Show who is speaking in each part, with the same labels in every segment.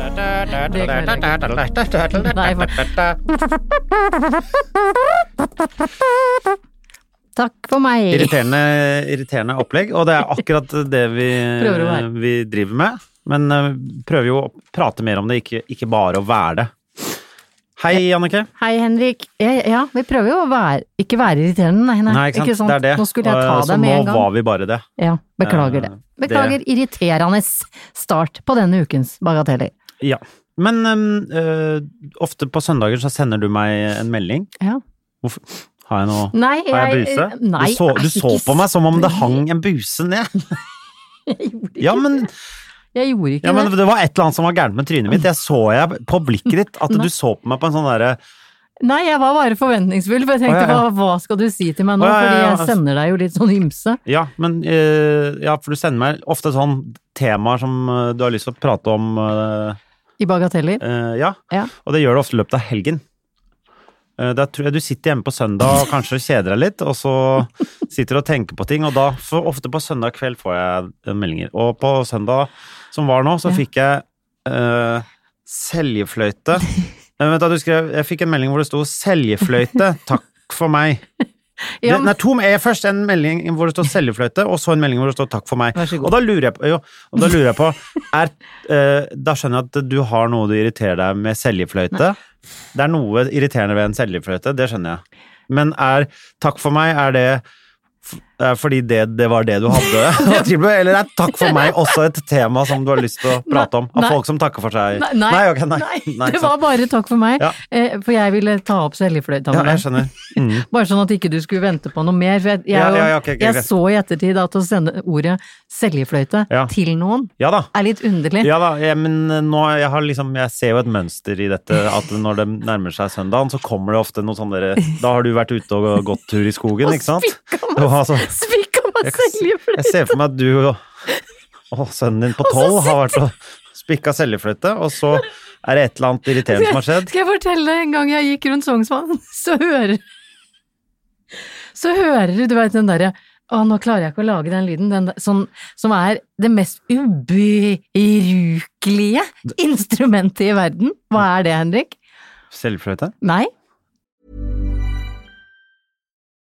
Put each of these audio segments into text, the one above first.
Speaker 1: Det kan jeg Nei, Takk for meg.
Speaker 2: Irriterende, irriterende opplegg, og det er akkurat det vi,
Speaker 1: Prøver å være.
Speaker 2: vi driver med. Men eh, prøver jo å prate mer om det, ikke, ikke bare å være det. Hei, Jannicke.
Speaker 1: Hei, Henrik. Ja, ja, vi prøver jo å være, ikke være irriterende, nei. nei.
Speaker 2: Nei, ikke sant.
Speaker 1: sant?
Speaker 2: Det er det.
Speaker 1: Nå skulle jeg
Speaker 2: Og,
Speaker 1: ta
Speaker 2: så
Speaker 1: deg med en
Speaker 2: nå
Speaker 1: gang.
Speaker 2: var vi bare det.
Speaker 1: Ja, beklager det.
Speaker 2: Eh, det-
Speaker 1: Beklager irriterende start på denne ukens bagateller.
Speaker 2: Ja. Men em, eh, ofte på søndager så sender du meg en melding.
Speaker 1: Ja.
Speaker 2: Hvorfor? Har jeg noe
Speaker 1: Nei,
Speaker 2: Har jeg
Speaker 1: jeg
Speaker 2: buse?
Speaker 1: Nei,
Speaker 2: du så, du
Speaker 1: ikke
Speaker 2: så på meg som om det
Speaker 1: s-
Speaker 2: hang en buse ned.
Speaker 1: Jeg gjorde ikke
Speaker 2: Ja, men,
Speaker 1: Jeg gjorde ikke
Speaker 2: ja, men
Speaker 1: det.
Speaker 2: det var et eller annet som var gærent med trynet mitt. Jeg så jeg på blikket ditt at
Speaker 1: Nei.
Speaker 2: du så på meg på en sånn derre
Speaker 1: Nei, jeg var bare forventningsfull, for jeg
Speaker 2: Å,
Speaker 1: tenkte
Speaker 2: ja, ja.
Speaker 1: Hva, hva skal du si til meg
Speaker 2: Å,
Speaker 1: nå?
Speaker 2: ja, ja,
Speaker 1: Fordi
Speaker 2: ja. altså.
Speaker 1: jeg sender deg jo litt sånn ymse.
Speaker 2: Ja, men eh, Ja, for du sender meg ofte sånn temaer som eh, du har lyst til å prate om. eh,
Speaker 1: I bagateller.
Speaker 2: eh, ja.
Speaker 1: Ja.
Speaker 2: Og det gjør du ofte i løpet av helgen. Eh, Da tror jeg du sitter hjemme på søndag og kanskje kjeder deg litt, og så sitter du og tenker på ting, og da for ofte på søndag kveld får jeg eh, meldinger. Og på søndag som var nå, så
Speaker 1: Ja.
Speaker 2: fikk jeg eh, seljefløyte. Nei, vent da, du skrev, jeg fikk en melding hvor det sto 'seljefløyte, takk for meg'.
Speaker 1: Ja,
Speaker 2: det, nei, to, eh, først en melding hvor det står 'seljefløyte', og så en melding hvor det står 'takk for meg'.
Speaker 1: Vær så god.
Speaker 2: Og da lurer jeg på, jo, og da, lurer jeg på er, eh, da skjønner jeg at du har noe du irriterer deg med seljefløyte. Det er noe irriterende ved en seljefløyte, det skjønner jeg. Men er 'takk for meg' er det f- er fordi det, det var det du hadde å tilby, eller er 'takk for meg' også et tema som du har lyst til å prate om? Av
Speaker 1: Nei.
Speaker 2: folk som takker for seg?
Speaker 1: Nei, nei,
Speaker 2: ok, nei, nei,
Speaker 1: det
Speaker 2: sant.
Speaker 1: var bare takk for meg,
Speaker 2: Ja.
Speaker 1: eh, for jeg ville ta opp seljefløyta
Speaker 2: Ja,
Speaker 1: med
Speaker 2: jeg
Speaker 1: deg.
Speaker 2: skjønner. Mm.
Speaker 1: Bare sånn at ikke du skulle vente på noe mer. For jeg, jeg,
Speaker 2: Ja,
Speaker 1: er jo-
Speaker 2: ja, ja, ok, ok,
Speaker 1: jeg
Speaker 2: greit.
Speaker 1: så i ettertid at å sende ordet seljefløyte
Speaker 2: Ja.
Speaker 1: til noen
Speaker 2: Ja da.
Speaker 1: er litt underlig.
Speaker 2: Ja da, jeg, men nå, jeg, har liksom, jeg ser jo et mønster i dette, at når det nærmer seg søndagen, så kommer det ofte noen sånne der, Da har du vært ute og gått tur i skogen, ikke sant?
Speaker 1: spikka
Speaker 2: Og altså,
Speaker 1: Spikk om meg
Speaker 2: jeg, kan se-
Speaker 1: seljefløyte!
Speaker 2: jeg ser for meg at du og, og sønnen din på tolv har vært og spikka seljefløyte, og så er det et eller annet irriterende som har skjedd.
Speaker 1: Skal jeg fortelle deg en gang jeg gikk rundt Sognsvann, så hører Så hører du, du veit den derre Å, nå klarer jeg ikke å lage den lyden. Den der, sånn, som er det mest ubrukelige instrumentet i verden. Hva er det, Henrik?
Speaker 2: Seljefløyte?
Speaker 1: Nei?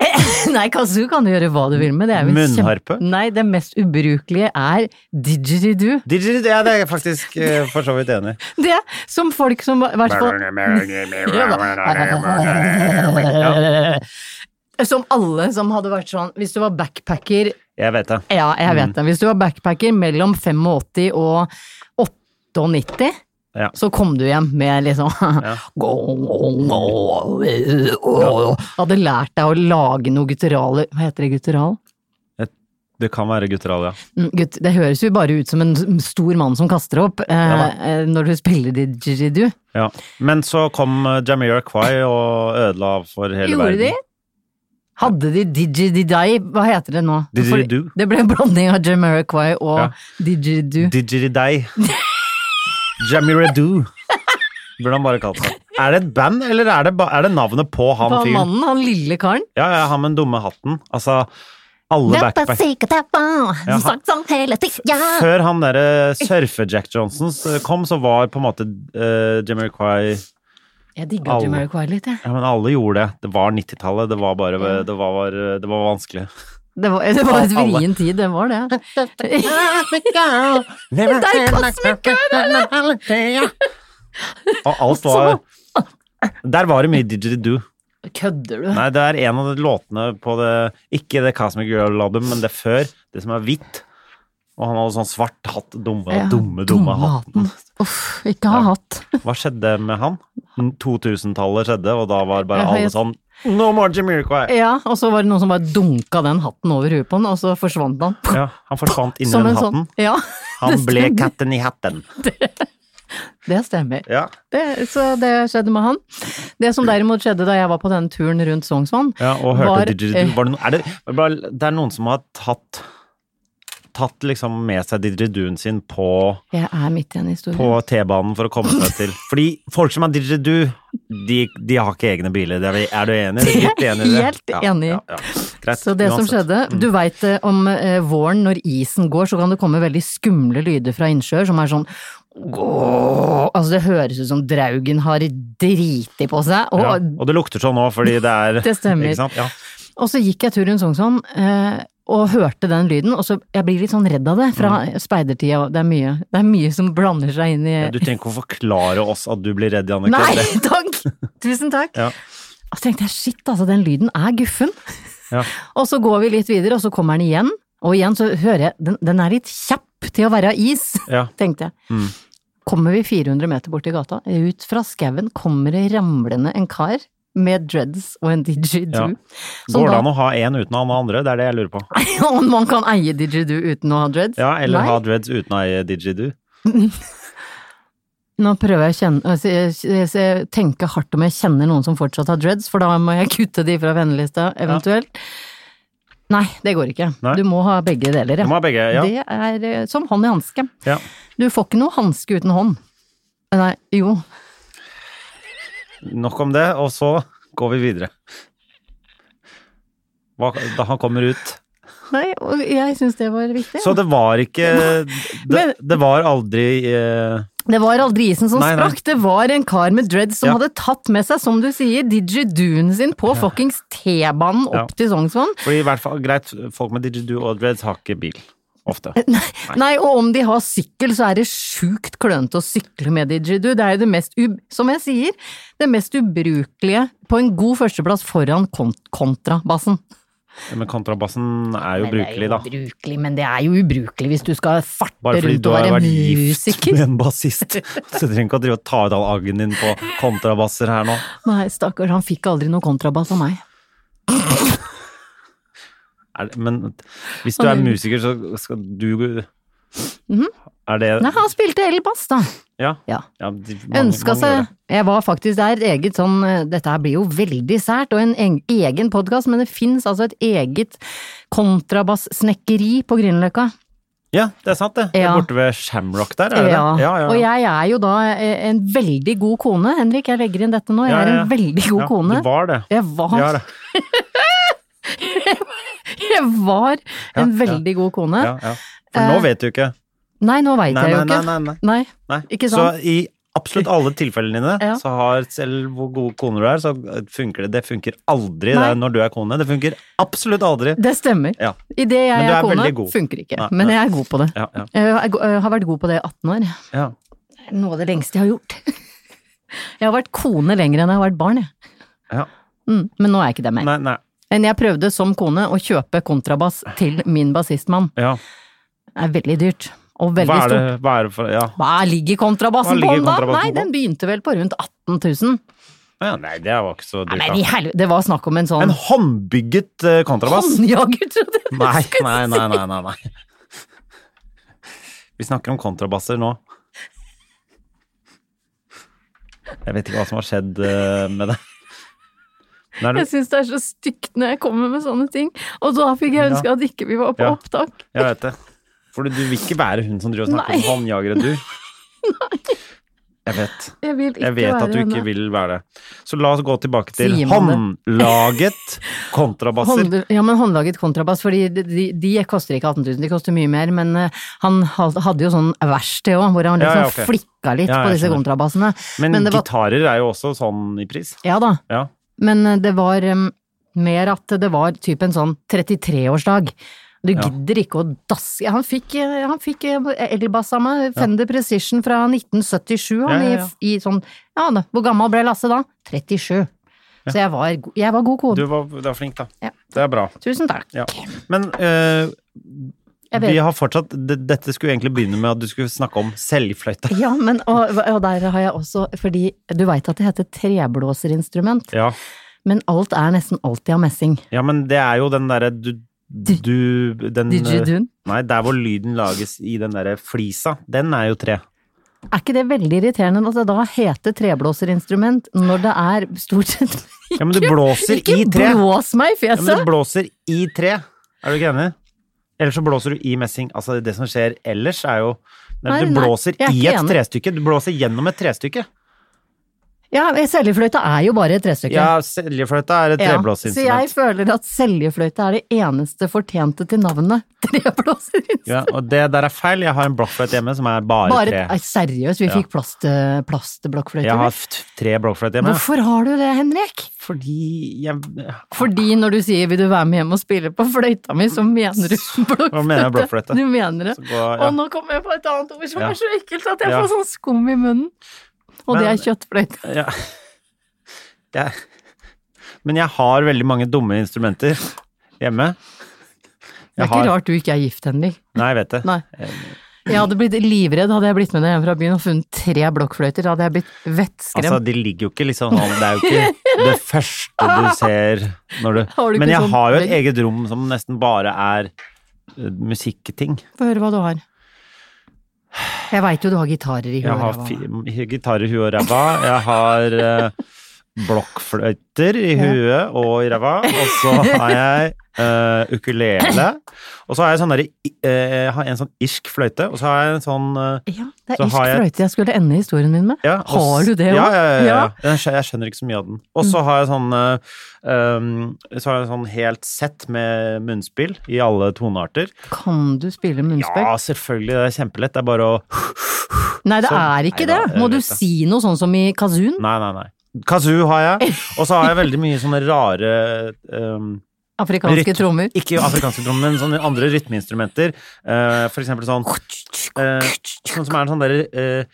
Speaker 1: Nei, kazoo kan du gjøre hva du vil med. Det er vel
Speaker 2: Munnharpe?
Speaker 1: kjempe- Nei, det mest ubrukelige er didgeridoo.
Speaker 2: Didgeridoo, Ja, det er jeg faktisk eh, for så vidt enig i.
Speaker 1: Det som folk som i hvert fall Som alle som hadde vært sånn Hvis du var backpacker
Speaker 2: Jeg vet det.
Speaker 1: Ja, jeg
Speaker 2: Mm.
Speaker 1: vet det. Hvis du var backpacker mellom 85 og 98,
Speaker 2: Ja.
Speaker 1: så kom du hjem med liksom øh, Hadde lært deg å lage noe gutturale Hva heter det guttural?
Speaker 2: Det kan være gutterall, ja.
Speaker 1: Mm, Gutt, det høres jo bare ut som en s- stor mann som kaster opp eh,
Speaker 2: Ja da.
Speaker 1: eh, når du spiller didgeridoo.
Speaker 2: ja. Men så kom eh, Jamira Quay og ødela for hele
Speaker 1: Gjorde
Speaker 2: verden.
Speaker 1: de? Hadde de didgeridai? Hva heter det nå?
Speaker 2: Didgeridoo.
Speaker 1: For Det ble en blanding av Jamiroquai og
Speaker 2: Ja.
Speaker 1: didgeridoo.
Speaker 2: Digiridei. Jamiradoo. Burde han bare kalt seg. Er det et band, eller er det, ba er det navnet på han
Speaker 1: Hva,
Speaker 2: fyren?
Speaker 1: mannen, han lille karen?
Speaker 2: Ja, ja, han med den dumme hatten. Altså, alle
Speaker 3: Dette
Speaker 2: backpack...
Speaker 3: sikkert er bra.
Speaker 2: Ja, han-
Speaker 3: Sagt sånn hele tida.
Speaker 2: Før han derre surfe-Jack Johnson kom, så var på en måte uh, Jamiroquai
Speaker 1: Jeg digga
Speaker 2: Alle.
Speaker 1: Jamiroquai litt, jeg.
Speaker 2: Ja, men alle gjorde det. Det var 90-tallet. Det var bare det var, det var vanskelig.
Speaker 1: Det var, det var et
Speaker 2: Alle.
Speaker 1: vrien tid, det var det.
Speaker 2: Never
Speaker 1: Det er Cosmic
Speaker 2: Og alt var Der var det mye didgeridoo.
Speaker 1: Kødder du?
Speaker 2: Nei, det er en av de låtene på det Ikke det Cosmic Girl-album, men det før. Det som er hvitt. Og han hadde sånn svart hatt. Dumme,
Speaker 1: Ja,
Speaker 2: dumme, dumme,
Speaker 1: dumme
Speaker 2: hatten.
Speaker 1: Uff, ikke ha
Speaker 2: Ja.
Speaker 1: hatt.
Speaker 2: Hva skjedde med han? 2000-tallet skjedde, og da var bare
Speaker 1: Jeg har
Speaker 2: alle
Speaker 1: jo-
Speaker 2: sånn No more Jamiroquai!
Speaker 1: Ja, og så var det noen som bare dunka den hatten over huet på han, og så forsvant han.
Speaker 2: Ja, han forsvant inni
Speaker 1: Som
Speaker 2: den
Speaker 1: en sånn
Speaker 2: hatten.
Speaker 1: Ja,
Speaker 2: Han
Speaker 1: det
Speaker 2: ble
Speaker 1: stemmer.
Speaker 2: katten i hatten.
Speaker 1: det stemmer.
Speaker 2: Ja.
Speaker 1: Det, så det skjedde med han. Det som derimot skjedde da jeg var på denne turen rundt Sognsvann,
Speaker 2: Ja, og hørte
Speaker 1: Var- eh,
Speaker 2: didgeridoo. Var det, no- er det, var det, bare, det er noen som har tatt Tatt liksom med seg didgeridooen sin på,
Speaker 1: jeg er midt i en historie.
Speaker 2: på T-banen for å komme seg til Fordi folk som har didgeridoo, de, de har ikke egne biler. Det Er, vi- er du enig?
Speaker 1: Det er
Speaker 2: Litt enig i det?
Speaker 1: helt enig i.
Speaker 2: Ja, ja, ja. Greit,
Speaker 1: Så det som
Speaker 2: uansett.
Speaker 1: skjedde,
Speaker 2: Mm.
Speaker 1: du veit om eh, våren når isen går, så kan det komme veldig skumle lyder fra innsjøer som er sånn «Åh!» Altså det høres ut som Draugen har driti på seg, og,
Speaker 2: ja. Og det lukter sånn nå, fordi det er
Speaker 1: Det stemmer.
Speaker 2: Ikke sant? Ja.
Speaker 1: og så gikk jeg tur rundt Sognsvann eh, og hørte den lyden, og så jeg blir litt sånn redd av det fra speidertida, og det er mye, det er mye som blander seg inn i
Speaker 2: Mm. Ja, Du trenger ikke å forklare oss at du blir redd, Jannicke.
Speaker 1: Nei,
Speaker 2: Det-
Speaker 1: takk! Tusen takk.
Speaker 2: Ja.
Speaker 1: Og så tenkte jeg shit, altså den lyden er guffen.
Speaker 2: Ja.
Speaker 1: Og så går vi litt videre, og så kommer den igjen. Og igjen så hører jeg, den, den er litt kjapp til å være is,
Speaker 2: Ja.
Speaker 1: tenkte jeg.
Speaker 2: Mm.
Speaker 1: Kommer vi 400 meter bort i gata, ut fra skauen kommer det ramlende en kar med dreads og en didgeridoo.
Speaker 2: Ja.
Speaker 1: Som
Speaker 2: Går det
Speaker 1: da-
Speaker 2: an å ha én uten å ha den andre? Det er det jeg lurer på.
Speaker 1: Om man kan eie didgeridoo uten å ha dreads?
Speaker 2: Ja, Eller
Speaker 1: Nei.
Speaker 2: ha dreads uten å eie didgeridoo.
Speaker 1: Nå prøver jeg å kjenne, altså, jeg- jeg- jeg tenker hardt om jeg kjenner noen som fortsatt har dreads, for da må jeg kutte de fra vennelista, eventuelt. Nei, det går ikke.
Speaker 2: Nei.
Speaker 1: Du må ha begge deler,
Speaker 2: Du
Speaker 1: ja.
Speaker 2: må ha begge. Ja.
Speaker 1: Det er eh, som hånd i hanske.
Speaker 2: ja.
Speaker 1: Du får ikke noe hanske uten hånd. Nei, jo.
Speaker 2: Nok om det, og så går vi videre. Hva, da han kommer ut.
Speaker 1: Nei, og jeg syns det var viktig.
Speaker 2: Så det var ikke Det,
Speaker 1: Men-
Speaker 2: det var aldri eh,
Speaker 1: Det var aldri isen som
Speaker 2: Nei, nei.
Speaker 1: sprakk, det var en kar med dreads som
Speaker 2: Ja.
Speaker 1: hadde tatt med seg, som du sier, didgeridooen sin på fuckings T-banen
Speaker 2: Ja.
Speaker 1: opp til Sognsvann.
Speaker 2: Fordi i hvert fall, greit, folk med didgeridoo og dreads har ikke bil. Ofte.
Speaker 1: Eh, Nei, og om de har sykkel, så er det sjukt klønete å sykle med didgeridoo. Det er jo det mest, ub som jeg sier, det mest ubrukelige på en god førsteplass foran kont kontrabassen.
Speaker 2: Men kontrabassen er jo brukelig, da.
Speaker 1: Det er jo brukelig, men det er jo ubrukelig hvis du skal farte
Speaker 2: Bare fordi
Speaker 1: rundt
Speaker 2: du
Speaker 1: og
Speaker 2: har
Speaker 1: være
Speaker 2: vært gift
Speaker 1: musiker.
Speaker 2: med en bassist. Så du trenger ikke å drive og ta ut all aggen din på kontrabasser her nå.
Speaker 1: Nei, stakkars, han fikk aldri noe kontrabass av meg.
Speaker 2: Er, det- men hvis du er musiker, så skal du Er det
Speaker 1: Mhm. Nei, han spilte elbass, da.
Speaker 2: Ja.
Speaker 1: Ja.
Speaker 2: ja de- mange-
Speaker 1: Ønska
Speaker 2: mange gjør det.
Speaker 1: seg Jeg var faktisk der, eget sånn eh, Dette her blir jo veldig sært, og en eng- egen podkast, men det fins altså et eget kontrabasssnekkeri på Grünerløkka.
Speaker 2: Ja, det er sant, det. Det er
Speaker 1: Ja.
Speaker 2: Borte ved Shamrock der, er det
Speaker 1: Ja.
Speaker 2: det? Ja, ja, ja.
Speaker 1: Og jeg er jo da eh, en veldig god kone, Henrik. Jeg legger inn dette nå. Jeg
Speaker 2: Ja, ja,
Speaker 1: er
Speaker 2: ja.
Speaker 1: en veldig god
Speaker 2: Ja,
Speaker 1: kone.
Speaker 2: Du var det.
Speaker 1: Jeg var,
Speaker 2: Ja, det.
Speaker 1: jeg var
Speaker 2: Ja,
Speaker 1: en
Speaker 2: ja.
Speaker 1: veldig god kone.
Speaker 2: Ja, ja. For nå
Speaker 1: Eh,
Speaker 2: vet du ikke.
Speaker 1: Nei, nå veit
Speaker 2: Nei,
Speaker 1: jeg
Speaker 2: nei,
Speaker 1: jo
Speaker 2: nei,
Speaker 1: ikke.
Speaker 2: nei, nei.
Speaker 1: Nei.
Speaker 2: nei.
Speaker 1: Ikke sant?
Speaker 2: Så i absolutt alle tilfellene dine,
Speaker 1: Ja.
Speaker 2: så har selv hvor god kone du er, så funker det. Det funker aldri
Speaker 1: Nei.
Speaker 2: det er når du er kone. Det funker absolutt aldri.
Speaker 1: Det stemmer.
Speaker 2: Ja.
Speaker 1: I det jeg
Speaker 2: Men du
Speaker 1: er,
Speaker 2: er veldig
Speaker 1: kone,
Speaker 2: god.
Speaker 1: funker ikke.
Speaker 2: Nei,
Speaker 1: Men
Speaker 2: nei.
Speaker 1: jeg er god på det. Eh,
Speaker 2: Ja, ja,
Speaker 1: Jeg er go- jeg har vært god på det i 18 år.
Speaker 2: ja.
Speaker 1: Det er Noe av det lengste jeg har gjort. Jeg har vært kone lenger enn jeg har vært barn, jeg.
Speaker 2: ja.
Speaker 1: Mm, men nå er jeg ikke det mer.
Speaker 2: Nei, nei.
Speaker 1: Men jeg prøvde som kone å kjøpe kontrabass til min bassistmann.
Speaker 2: Ja.
Speaker 1: Det er veldig dyrt. Og
Speaker 2: Hva
Speaker 1: veldig
Speaker 2: er det,
Speaker 1: stort.
Speaker 2: hva er det for Ja.
Speaker 1: Hva ligger kontrabassen
Speaker 2: Hva ligger
Speaker 1: på den da?
Speaker 2: kontrabassen
Speaker 1: Nei,
Speaker 2: på?
Speaker 1: den begynte vel på rundt 18 000.
Speaker 2: Ja, nei, det var ikke så
Speaker 1: Nei,
Speaker 2: dyrt,
Speaker 1: men i
Speaker 2: da.
Speaker 1: helvete, det var snakk om en sånn
Speaker 2: En håndbygget eh, kontrabass?
Speaker 1: håndjager, trodde jeg.
Speaker 2: Nei, nei, nei, nei, nei, nei. Vi snakker om kontrabasser nå. Jeg vet ikke hva som har skjedd eh, med det. Men er
Speaker 1: Jeg
Speaker 2: du,
Speaker 1: syns det er så stygt når jeg kommer med sånne ting. Og da fikk jeg ønske
Speaker 2: Ja.
Speaker 1: at ikke vi var på
Speaker 2: Ja.
Speaker 1: opptak.
Speaker 2: jeg vet det. For du vil ikke være hun som driver og snakker
Speaker 1: Nei.
Speaker 2: om håndjagere, du. Jeg vet.
Speaker 1: Jeg vil ikke
Speaker 2: Jeg vet
Speaker 1: være
Speaker 2: at du ikke
Speaker 1: henne.
Speaker 2: vil være det. Så la oss gå tilbake til
Speaker 1: Sier man det?
Speaker 2: håndlaget kontrabasser.
Speaker 1: Hånd, ja, men håndlaget kontrabass, fordi de, de, de koster ikke 18 000, de koster mye mer, men eh, han ha- hadde jo sånn verksted òg, hvor han
Speaker 2: Ja,
Speaker 1: liksom
Speaker 2: ja, ok.
Speaker 1: flikka litt
Speaker 2: Ja,
Speaker 1: på
Speaker 2: jeg
Speaker 1: disse
Speaker 2: skjønner.
Speaker 1: kontrabassene.
Speaker 2: Men,
Speaker 1: Men det var-
Speaker 2: gitarer er jo også sånn i pris.
Speaker 1: Ja da,
Speaker 2: Ja.
Speaker 1: men eh, det var em, mer at det var typ en sånn 33-årsdag. Du
Speaker 2: Ja.
Speaker 1: gidder ikke å dasse Han fikk, eh, han fikk eh, elbass av meg, Fender Precision fra 1977, han
Speaker 2: Ja, ja, ja.
Speaker 1: I, i sånn Ja, da, hvor gammel ble Lasse da? 37. Så jeg var, go- jeg var
Speaker 2: Du
Speaker 1: god kone.
Speaker 2: var, du var flink, da.
Speaker 1: Ja.
Speaker 2: Det er bra.
Speaker 1: Tusen takk.
Speaker 2: Ja. Men eh,
Speaker 1: Jeg vet-
Speaker 2: vi har fortsatt det- Dette skulle egentlig begynne med at du skulle snakke om seljfløyte.
Speaker 1: Ja, men og, og der har jeg også Fordi du veit at det heter treblåserinstrument,
Speaker 2: Ja.
Speaker 1: men alt er nesten alltid av messing.
Speaker 2: ja, men det er jo den derre du, du den, eh,
Speaker 1: Didgeridoo.
Speaker 2: Nei, der hvor lyden lages i den derre flisa. Den er jo tre.
Speaker 1: Er ikke det veldig irriterende at det da heter treblåserinstrument når det er stort sett
Speaker 2: Ja, men du blåser
Speaker 1: Ikke
Speaker 2: i tre.
Speaker 1: blås meg i
Speaker 2: Ja, men du
Speaker 1: fjeset!
Speaker 2: blåser i tre. Er du ikke enig? Eller så blåser du i messing. Altså, det som skjer ellers, er jo Nei,
Speaker 1: Nei,
Speaker 2: Du
Speaker 1: nei,
Speaker 2: blåser
Speaker 1: jeg er
Speaker 2: i
Speaker 1: ikke
Speaker 2: et
Speaker 1: enig.
Speaker 2: trestykke. Du blåser gjennom et trestykke.
Speaker 1: Ja, Seljefløyta er jo bare et trestykke.
Speaker 2: Ja, seljefløyta er et
Speaker 1: Ja, Så jeg
Speaker 2: treblåseinstrument.
Speaker 1: føler at seljefløyte er det eneste fortjente til navnet treblåserinstrument.
Speaker 2: Ja, og det der er feil. Jeg har en blokkfløyte hjemme som er bare,
Speaker 1: Bare,
Speaker 2: tre.
Speaker 1: Nei, seriøst, vi
Speaker 2: Ja.
Speaker 1: fikk plast, eh, plastblokkfløyte.
Speaker 2: Jeg har
Speaker 1: eller?
Speaker 2: hatt tre blokkfløyter hjemme.
Speaker 1: Hvorfor har du det, Henrik?
Speaker 2: Fordi jeg
Speaker 1: Fordi når du sier 'vil du være med hjem og spille på fløyta mi', så mener du blokkfløyte.
Speaker 2: Hva mener jeg blokkfløyte?
Speaker 1: Du mener det.
Speaker 2: Så går- ja.
Speaker 1: Og nå kommer jeg på et annet ord som
Speaker 2: Ja.
Speaker 1: er så ekkelt at jeg
Speaker 2: Ja.
Speaker 1: får sånn skum i munnen. Og det
Speaker 2: Men-
Speaker 1: er kjøttfløyte.
Speaker 2: ja. jeg, Men jeg har veldig mange dumme instrumenter hjemme.
Speaker 1: Det er
Speaker 2: har-
Speaker 1: ikke rart du ikke er gift, Henrik.
Speaker 2: Nei, jeg vet det.
Speaker 1: Nei. Jeg hadde blitt livredd hadde jeg blitt med deg hjem fra byen og funnet tre blokkfløyter. Da hadde jeg blitt vettskremt.
Speaker 2: Altså, de ligger jo ikke liksom sånn Det er jo ikke det første du ser når du,
Speaker 1: Har du ikke
Speaker 2: Men jeg
Speaker 1: sånn
Speaker 2: har jo et
Speaker 1: vegg?
Speaker 2: eget rom som nesten bare er eh, musikkting.
Speaker 1: Få høre hva du har. Jeg veit jo du har gitarer i huet.
Speaker 2: Jeg har
Speaker 1: ræva.
Speaker 2: fi- gitar i huet og ræva. Jeg har eh, blokkfløyter i huet og i ræva. Og så har jeg eh, ukulele. Og så har jeg sånn derre eh, jeg har en sånn irsk fløyte, og så har jeg en sånn eh,
Speaker 1: Ja, det er
Speaker 2: Så
Speaker 1: irsk
Speaker 2: har jeg-
Speaker 1: fløyte jeg skulle ende historien min med.
Speaker 2: ja, og
Speaker 1: har
Speaker 2: s-
Speaker 1: du det
Speaker 2: Ja,
Speaker 1: også?
Speaker 2: ja, ja, ja.
Speaker 1: Ja. Mm.
Speaker 2: Jeg, skjønner, jeg skjønner ikke så mye av den. Og så har jeg sånn eh, um, Så har jeg sånn helt sett med munnspill i alle tonearter.
Speaker 1: Kan du spille munnspill?
Speaker 2: Ja, selvfølgelig, det er kjempelett. Det er bare å
Speaker 1: Nei, det
Speaker 2: Sånn.
Speaker 1: er ikke
Speaker 2: Nei da,
Speaker 1: det.
Speaker 2: jeg
Speaker 1: Må
Speaker 2: vet
Speaker 1: du
Speaker 2: det.
Speaker 1: si noe sånn som i kazun?
Speaker 2: Nei, nei, nei. Kazoo har jeg, og så har jeg veldig mye sånne rare um,
Speaker 1: Afrikanske
Speaker 2: rytm-
Speaker 1: trommer?
Speaker 2: Ikke afrikanske trommer, men sånne andre rytmeinstrumenter. Eh, for eksempel sånn eh, Sånn som er en sånn derre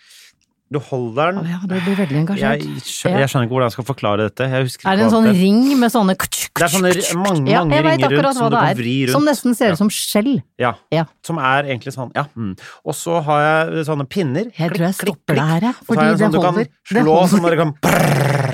Speaker 2: Du holder
Speaker 1: Å
Speaker 2: den
Speaker 1: ja, det blir veldig
Speaker 2: jeg,
Speaker 1: engasjert.
Speaker 2: skjø-
Speaker 1: Ja.
Speaker 2: jeg skjønner ikke hvordan jeg skal forklare dette. Jeg husker ikke
Speaker 1: Er det en
Speaker 2: hva
Speaker 1: sånn ring med sånne Det
Speaker 2: er sånne r- mange- mange ringer
Speaker 1: jeg vet
Speaker 2: rundt
Speaker 1: akkurat
Speaker 2: som
Speaker 1: hva
Speaker 2: du
Speaker 1: det
Speaker 2: kan
Speaker 1: er,
Speaker 2: vri rundt.
Speaker 1: Som nesten ser
Speaker 2: Ja.
Speaker 1: ut som skjell.
Speaker 2: Ja.
Speaker 1: Ja.
Speaker 2: Som er egentlig sånn, ja. Mm. Og så har jeg sånne pinner.
Speaker 1: Jeg tror jeg stopper det her, jeg.
Speaker 2: Og så har
Speaker 1: Fordi
Speaker 2: jeg en
Speaker 1: det
Speaker 2: sånn du kan
Speaker 1: holder. Det
Speaker 2: slå,
Speaker 1: holder.
Speaker 2: sånn dere kan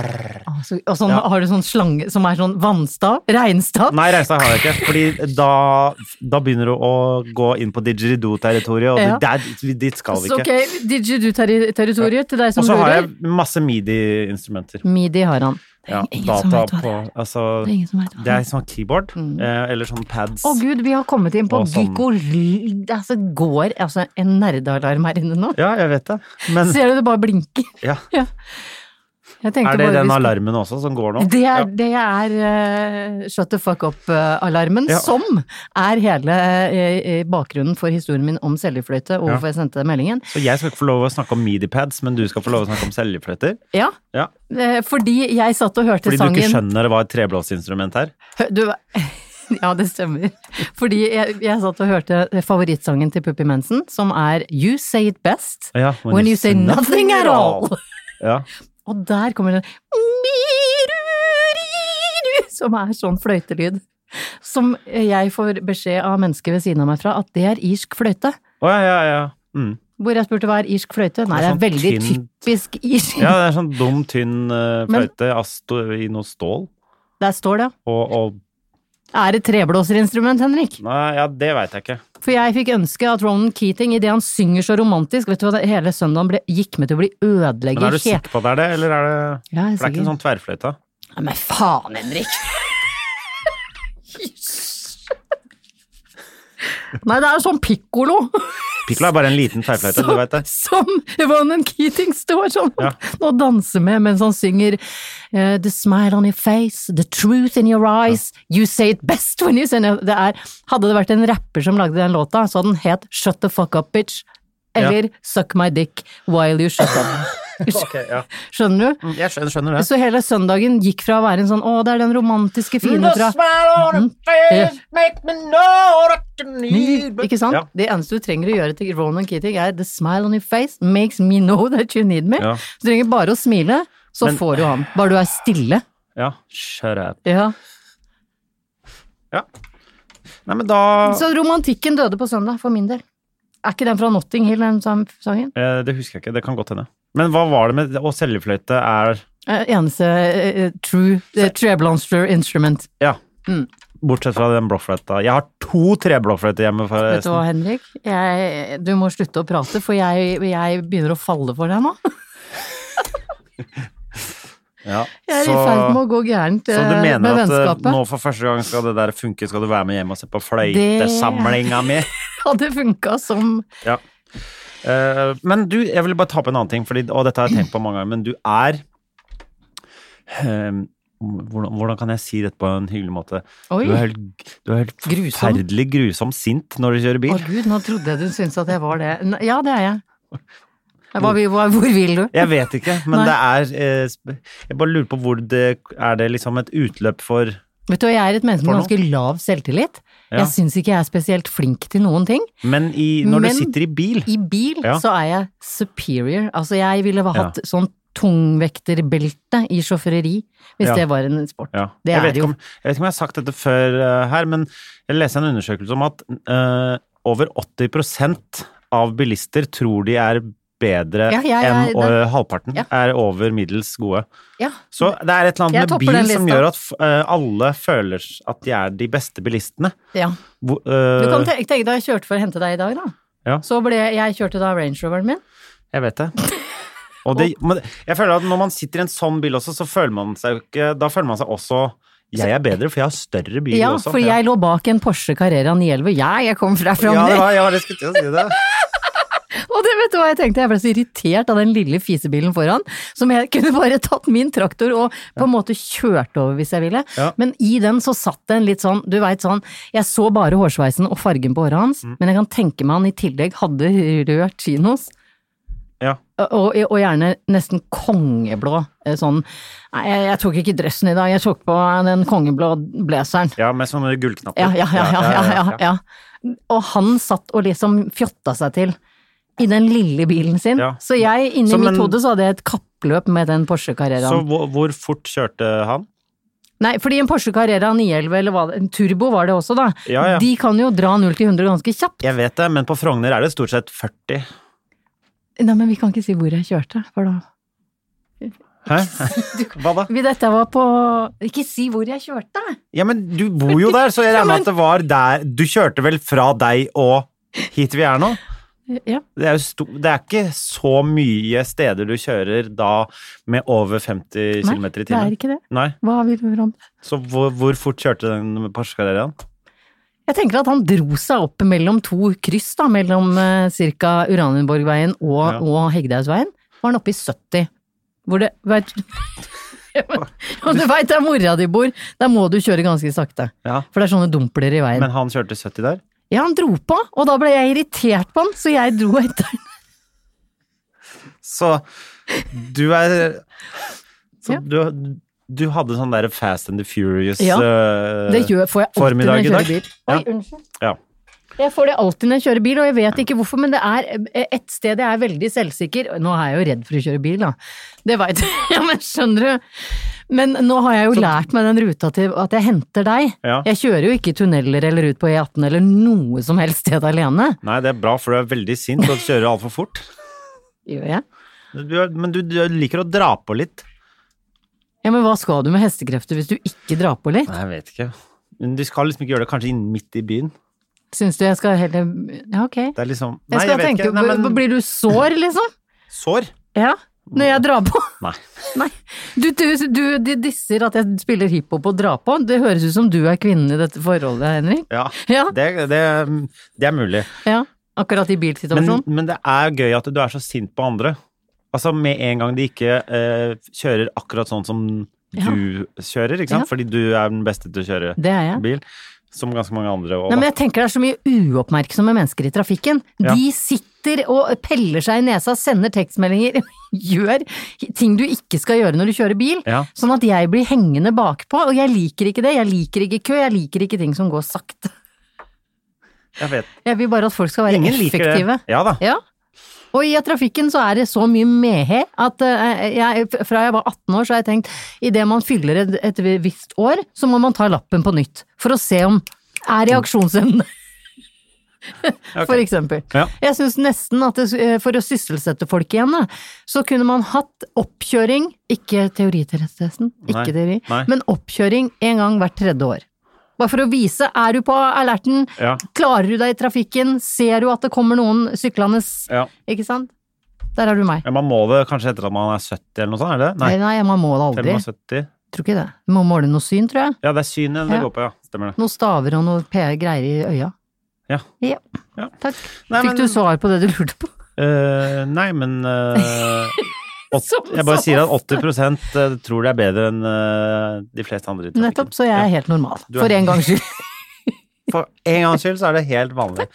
Speaker 1: Ah, så- Og sånn
Speaker 2: Ja.
Speaker 1: har du sånn slange som er sånn vannstav? Regnstav?
Speaker 2: Nei, reisa har jeg ikke. Fordi da, da begynner du å gå inn på didgeridoo-territoriet, og
Speaker 1: Ja.
Speaker 2: det- der, dit skal vi
Speaker 1: Så,
Speaker 2: ikke.
Speaker 1: ok, didgeridoo-territoriet til deg
Speaker 2: Og
Speaker 1: som
Speaker 2: så har
Speaker 1: lurer.
Speaker 2: jeg masse midi-instrumenter.
Speaker 1: Midi har han. Det
Speaker 2: Ja,
Speaker 1: er ingen som
Speaker 2: data
Speaker 1: vet hva
Speaker 2: på
Speaker 1: det er.
Speaker 2: Altså,
Speaker 1: Det er ingen som vet hva
Speaker 2: det
Speaker 1: det
Speaker 2: er
Speaker 1: er.
Speaker 2: sånn keyboard, eh, eller sånn pads.
Speaker 1: Å gud, vi har kommet inn på
Speaker 2: Og sånn.
Speaker 1: gykolyd Altså, går altså en nerdealarm her inne nå?
Speaker 2: Ja, jeg vet det. Men
Speaker 1: Ser du det bare blinker?
Speaker 2: ja.
Speaker 1: Ja. Jeg tenkte
Speaker 2: er det
Speaker 1: bare vi
Speaker 2: den
Speaker 1: skulle-
Speaker 2: alarmen også som går nå?
Speaker 1: Det er,
Speaker 2: ja.
Speaker 1: det er eh, shut the fuck up-alarmen,
Speaker 2: Ja.
Speaker 1: som er hele eh, eh, bakgrunnen for historien min om seljefløyte, og
Speaker 2: Ja.
Speaker 1: hvorfor jeg sendte den meldingen.
Speaker 2: Så jeg skal ikke få lov å snakke om midi-pads, men du skal få lov å snakke om seljefløyter?
Speaker 1: Ja,
Speaker 2: Ja.
Speaker 1: eh, fordi jeg satt og hørte
Speaker 2: Fordi du
Speaker 1: sangen
Speaker 2: ikke skjønner hva et treblåsinstrument er?
Speaker 1: Hø- Du, ja, det stemmer. Fordi jeg, jeg satt og hørte eh, favorittsangen til Puppi Mensen, som er You Say It Best
Speaker 2: Ja,
Speaker 1: When, You Say Nothing At All.
Speaker 2: Ja.
Speaker 1: Og der kommer den «Miruriru», Som er sånn fløytelyd. Som jeg får beskjed av mennesker ved siden av meg fra at det er irsk fløyte.
Speaker 2: Å ja, ja, ja. Mm.
Speaker 1: Hvor jeg spurte hva er irsk fløyte? Nei, det
Speaker 2: Det er
Speaker 1: er veldig
Speaker 2: sånn tynt.
Speaker 1: typisk irsk.
Speaker 2: Ja, det er sånn dum, tynn eh,
Speaker 1: Men-
Speaker 2: fløyte av stå- i noe stål.
Speaker 1: Der står det.
Speaker 2: Og, og
Speaker 1: Er det treblåserinstrument, Henrik?
Speaker 2: Nei, ja, det veit jeg ikke.
Speaker 1: For jeg fikk ønske at Ronan Keating, idet han synger så romantisk, vet du hva, det- hele søndagen ble, gikk med til å bli
Speaker 2: Men
Speaker 1: ødelegger
Speaker 2: er du
Speaker 1: helt.
Speaker 2: sikker på at det er det, eller er det
Speaker 1: Ja,
Speaker 2: For det er
Speaker 1: jeg er
Speaker 2: ikke
Speaker 1: sikker.
Speaker 2: en sånn tverrfløyte?
Speaker 1: Nei, men faen, Henrik! Nei, det er jo sånn pikkolo
Speaker 2: Piccolo er bare en liten tverrfløyte, du veit det.
Speaker 1: som Ronan Keating står sånn
Speaker 2: Ja.
Speaker 1: og danser med mens han synger eh, The smile on your face, the truth in your eyes, you say it best when you say it. det er, Hadde det vært en rapper som lagde den låta, så hadde den het Shut the fuck up, bitch. Eller Suck my dick while you shut up.
Speaker 2: Ok, Mm. ja.
Speaker 1: Skjønner du?
Speaker 2: Jeg skjønner, skjønner det.
Speaker 1: Så hele søndagen gikk fra å være en sånn å, det er den romantiske fine fra Mm. Ikke sant?
Speaker 2: Ja.
Speaker 1: Det eneste du trenger å gjøre til Ronan Keating er The smile on your face makes me know that you need me.
Speaker 2: Ja.
Speaker 1: Så du trenger bare å smile, så
Speaker 2: Men-
Speaker 1: får du han. Bare du er stille.
Speaker 2: Ja, shut up.
Speaker 1: Ja.
Speaker 2: Ja. Nei, men da
Speaker 1: Så romantikken døde på søndag, for min del. Er ikke den fra Notting Hill, den sam- sangen?
Speaker 2: eh, Det husker jeg ikke, det kan godt hende. Men hva var det med Å, seljefløyte er
Speaker 1: Eh, Eneste eh, eh, true eh, treblonster instrument.
Speaker 2: Ja.
Speaker 1: Mm.
Speaker 2: Bortsett fra den blåfløyta. Jeg har to treblåfløyter hjemme,
Speaker 1: Vet du hva,
Speaker 2: forresten.
Speaker 1: Henrik? Jeg, du må slutte å prate, for jeg, jeg begynner å falle for deg nå.
Speaker 2: Ja.
Speaker 1: Jeg er
Speaker 2: så-
Speaker 1: i ferd med å gå gærent
Speaker 2: Så
Speaker 1: eh,
Speaker 2: du mener
Speaker 1: med
Speaker 2: at eh,
Speaker 1: vennskapet.
Speaker 2: nå for første gang skal det der funke, skal du være med hjem og se på fløytesamlinga mi?
Speaker 1: Hadde funka som
Speaker 2: Ja. Eh, men du, jeg vil bare ta opp en annen ting, fordi, og dette har jeg tenkt på mange ganger, men du er eh, hvordan, hvordan kan jeg si dette på en hyggelig måte?
Speaker 1: Oi.
Speaker 2: Du er helt, du er helt
Speaker 1: Grusom.
Speaker 2: forferdelig grusom sint når du kjører
Speaker 1: Å
Speaker 2: bil.
Speaker 1: gud, nå trodde jeg du syntes at jeg var det. N- Ja, det er jeg. Hva, vil- hva, hvor vil du?
Speaker 2: Jeg vet ikke, men
Speaker 1: Nei.
Speaker 2: det er eh, sp- Jeg bare lurer på hvor det Er det liksom et utløp for
Speaker 1: Vet du, hva, Jeg er et menneske med
Speaker 2: For
Speaker 1: ganske lav selvtillit.
Speaker 2: Ja.
Speaker 1: Jeg syns ikke jeg er spesielt flink til noen ting.
Speaker 2: Men i, når
Speaker 1: Men-
Speaker 2: du sitter i bil
Speaker 1: I bil
Speaker 2: Ja.
Speaker 1: så er jeg superior. Altså, jeg ville ha hatt sånn tungvekterbelte i sjåføreri hvis
Speaker 2: Ja.
Speaker 1: det var en sport.
Speaker 2: ja.
Speaker 1: Det
Speaker 2: jeg,
Speaker 1: er
Speaker 2: vet
Speaker 1: det
Speaker 2: ikke om,
Speaker 1: jo.
Speaker 2: jeg vet ikke om jeg har sagt dette før eh, her, men jeg leste en undersøkelse om at eh, over 80 av bilister tror de er bedre
Speaker 1: Ja, ja, ja,
Speaker 2: enn
Speaker 1: det-
Speaker 2: eh, halvparten.
Speaker 1: Ja.
Speaker 2: Er over middels gode.
Speaker 1: Ja.
Speaker 2: Så det er et eller
Speaker 1: Jeg
Speaker 2: annet med
Speaker 1: topper den
Speaker 2: bil som
Speaker 1: lista.
Speaker 2: gjør at f- eh, alle føler at de er de beste bilistene.
Speaker 1: ja.
Speaker 2: Hvor,
Speaker 1: Du
Speaker 2: eh,
Speaker 1: kan tenke tenke deg jeg kjørte for å hente deg i dag, da.
Speaker 2: Ja.
Speaker 1: Så ble jeg kjørte da Range Roveren min.
Speaker 2: Jeg vet det. Og det, men jeg føler at når man sitter i en sånn bil også, så føler man seg jo ikke Da føler man seg også Jeg er bedre, for jeg har større bil
Speaker 1: Ja,
Speaker 2: også.
Speaker 1: for jeg sånn. lå bak en Porsche Carrera 911. Ja, jeg kom
Speaker 2: ja,
Speaker 1: fra Frogner.
Speaker 2: det var, ja, det skulle til å si det.
Speaker 1: Og det vet du hva jeg tenkte, jeg ble så irritert av den lille fisebilen foran, som jeg kunne bare tatt min traktor og på en måte kjørt over hvis jeg ville.
Speaker 2: Ja.
Speaker 1: Men i den så satt det en litt sånn, du veit sånn, jeg så bare hårsveisen og fargen på håret hans, men jeg kan tenke meg han i tillegg hadde rød chinos.
Speaker 2: Ja.
Speaker 1: Og, og gjerne nesten kongeblå, eh, sånn Nei, jeg, jeg tok ikke dressen i dag, jeg tok på den kongeblå blazeren.
Speaker 2: ja, med sånne gullknapper.
Speaker 1: Ja, ja, ja, ja, ja, ja, ja. Og han satt og liksom fjotta seg til i den lille bilen sin.
Speaker 2: Ja.
Speaker 1: Så jeg, inni
Speaker 2: Så, men-
Speaker 1: mitt hode, så hadde jeg et kappløp med den Porsche
Speaker 2: Så
Speaker 1: Carreraen.
Speaker 2: hvor, hvor fort kjørte han?
Speaker 1: Nei, fordi en Porsche Carrera 911, eller hva det, en Turbo var det også da,
Speaker 2: Ja, ja.
Speaker 1: de kan jo dra 0 til 100 ganske kjapt.
Speaker 2: Jeg vet det, men på Frogner er det stort sett 40.
Speaker 1: Nei, men vi kan ikke si hvor jeg kjørte, for da
Speaker 2: Hæ? Hva da?
Speaker 1: Vi- Dette var på Ikke si hvor jeg kjørte!
Speaker 2: Ja, men du bor jo der, så jeg regner med at det var der Du kjørte vel fra deg og hit vi er nå?
Speaker 1: Ja.
Speaker 2: Det er, jo sto, det er ikke så mye steder du kjører da med over 50
Speaker 1: Nei,
Speaker 2: km i
Speaker 1: det er
Speaker 2: timen.
Speaker 1: ikke det.
Speaker 2: Nei.
Speaker 1: Hva vil du høre om det?
Speaker 2: Så hvor, hvor fort kjørte den Porsche Carreraen?
Speaker 1: Jeg tenker at han dro seg opp mellom to kryss, da, mellom eh, cirka Uranienborgveien og,
Speaker 2: Ja.
Speaker 1: og Hegdehaugsveien. Var han oppe i 70. Hvor det vet, ja, men, ja, Du veit der mora di bor, der må du kjøre ganske sakte.
Speaker 2: Ja.
Speaker 1: For det er sånne dumpler i veien.
Speaker 2: Men han kjørte 70 der?
Speaker 1: Ja, han dro på, og da ble jeg irritert på han, så jeg dro etter han.
Speaker 2: Så du er Så
Speaker 1: Ja.
Speaker 2: du, du hadde sånn der Fast and the Furious
Speaker 1: Ja,
Speaker 2: eh,
Speaker 1: Det gjør, får jeg alltid når
Speaker 2: Formiddag
Speaker 1: jeg
Speaker 2: i dag?
Speaker 1: kjører bil. Oi,
Speaker 2: Ja.
Speaker 1: unnskyld.
Speaker 2: ja.
Speaker 1: Jeg får det alltid når jeg kjører bil, og jeg vet ikke hvorfor, men det er eh, et sted jeg er veldig selvsikker Nå er jeg jo redd for å kjøre bil, da. Det veit jeg, ja, men skjønner du. Men nå har jeg jo lært meg den ruta til at jeg henter deg.
Speaker 2: Ja.
Speaker 1: Jeg kjører jo ikke i tunneler eller ut på E18 eller noe som helst sted alene.
Speaker 2: Nei, det er bra, for du er veldig sint og kjører altfor fort.
Speaker 1: Gjør jeg?
Speaker 2: Du er, men du, du liker å dra på litt.
Speaker 1: Ja, men hva skal du med hestekrefter hvis du ikke drar på litt?
Speaker 2: Nei, jeg vet ikke. Men du skal liksom ikke gjøre det kanskje inn midt i byen.
Speaker 1: Syns du jeg skal heller Ja, ok.
Speaker 2: Det er liksom
Speaker 1: Jeg
Speaker 2: Nei,
Speaker 1: skal
Speaker 2: jeg vet
Speaker 1: tenke,
Speaker 2: ikke. Nei, men
Speaker 1: Blir du sår, liksom?
Speaker 2: Sår?
Speaker 1: Ja. Når jeg drar på?
Speaker 2: Nei.
Speaker 1: Nei. Du, du, du de disser at jeg spiller hiphop og drar på. Det høres ut som du er kvinnen i dette forholdet, Henrik.
Speaker 2: Ja,
Speaker 1: Ja.
Speaker 2: Det, det, det er mulig.
Speaker 1: Ja. Akkurat i
Speaker 2: Men,
Speaker 1: bilsituasjonen.
Speaker 2: men det er gøy at du er så sint på andre. Altså med en gang de ikke eh, kjører akkurat sånn som
Speaker 1: Ja.
Speaker 2: du kjører, ikke sant? Fordi du er den beste til å kjøre
Speaker 1: Det er jeg.
Speaker 2: bil. Som ganske mange andre òg.
Speaker 1: Nei, men jeg tenker det er så mye uoppmerksomme mennesker i trafikken.
Speaker 2: Ja.
Speaker 1: De sitter og peller seg i nesa, sender tekstmeldinger, gjør ting du ikke skal gjøre når du kjører bil.
Speaker 2: Ja.
Speaker 1: Sånn at jeg blir hengende bakpå, og jeg liker ikke det. Jeg liker ikke kø, jeg liker ikke ting som går sakte.
Speaker 2: Jeg vet.
Speaker 1: Jeg vil bare at folk skal være
Speaker 2: Ingen liker
Speaker 1: effektive.
Speaker 2: det. Ja da.
Speaker 1: Ja. Og i trafikken så er det så mye medhe at eh, jeg, fra jeg var 18 år så har jeg tenkt idet man fyller et, et visst år, så må man ta lappen på nytt. For å se om er reaksjonsevne,
Speaker 2: Ok.
Speaker 1: for eksempel.
Speaker 2: Ja.
Speaker 1: Jeg syns nesten at det, eh, for å sysselsette folk igjen, da, så kunne man hatt oppkjøring, ikke teori til rettstesten, ikke
Speaker 2: Nei,
Speaker 1: teori,
Speaker 2: nei.
Speaker 1: men oppkjøring en gang hvert tredje år. Bare for å vise, er du på alerten,
Speaker 2: Ja.
Speaker 1: klarer du deg i trafikken, ser du at det kommer noen syklende
Speaker 2: Ja.
Speaker 1: ikke sant? Der er du meg.
Speaker 2: Men man må det kanskje etter at man er 70 eller noe sånt, er det?
Speaker 1: Nei, nei, man må det aldri.
Speaker 2: 75?
Speaker 1: Tror ikke det. Man må måle noe syn, tror jeg.
Speaker 2: Ja, det er synet det
Speaker 1: Ja.
Speaker 2: går på, ja. Stemmer det.
Speaker 1: Noen staver og noe p- greier i øya.
Speaker 2: Ja. Ja.
Speaker 1: Takk.
Speaker 2: Nei,
Speaker 1: Fikk
Speaker 2: men-
Speaker 1: du svar på det du lurte på?
Speaker 2: Eh, nei, men eh, åt,
Speaker 1: Som
Speaker 2: Jeg bare
Speaker 1: så
Speaker 2: sier at 80 tror det er bedre enn eh, de fleste andre i trafikken.
Speaker 1: Nettopp, så jeg er helt normal.
Speaker 2: Du er-
Speaker 1: For en gangs skyld.
Speaker 2: Ja. For en gangs skyld så er det helt vanlig.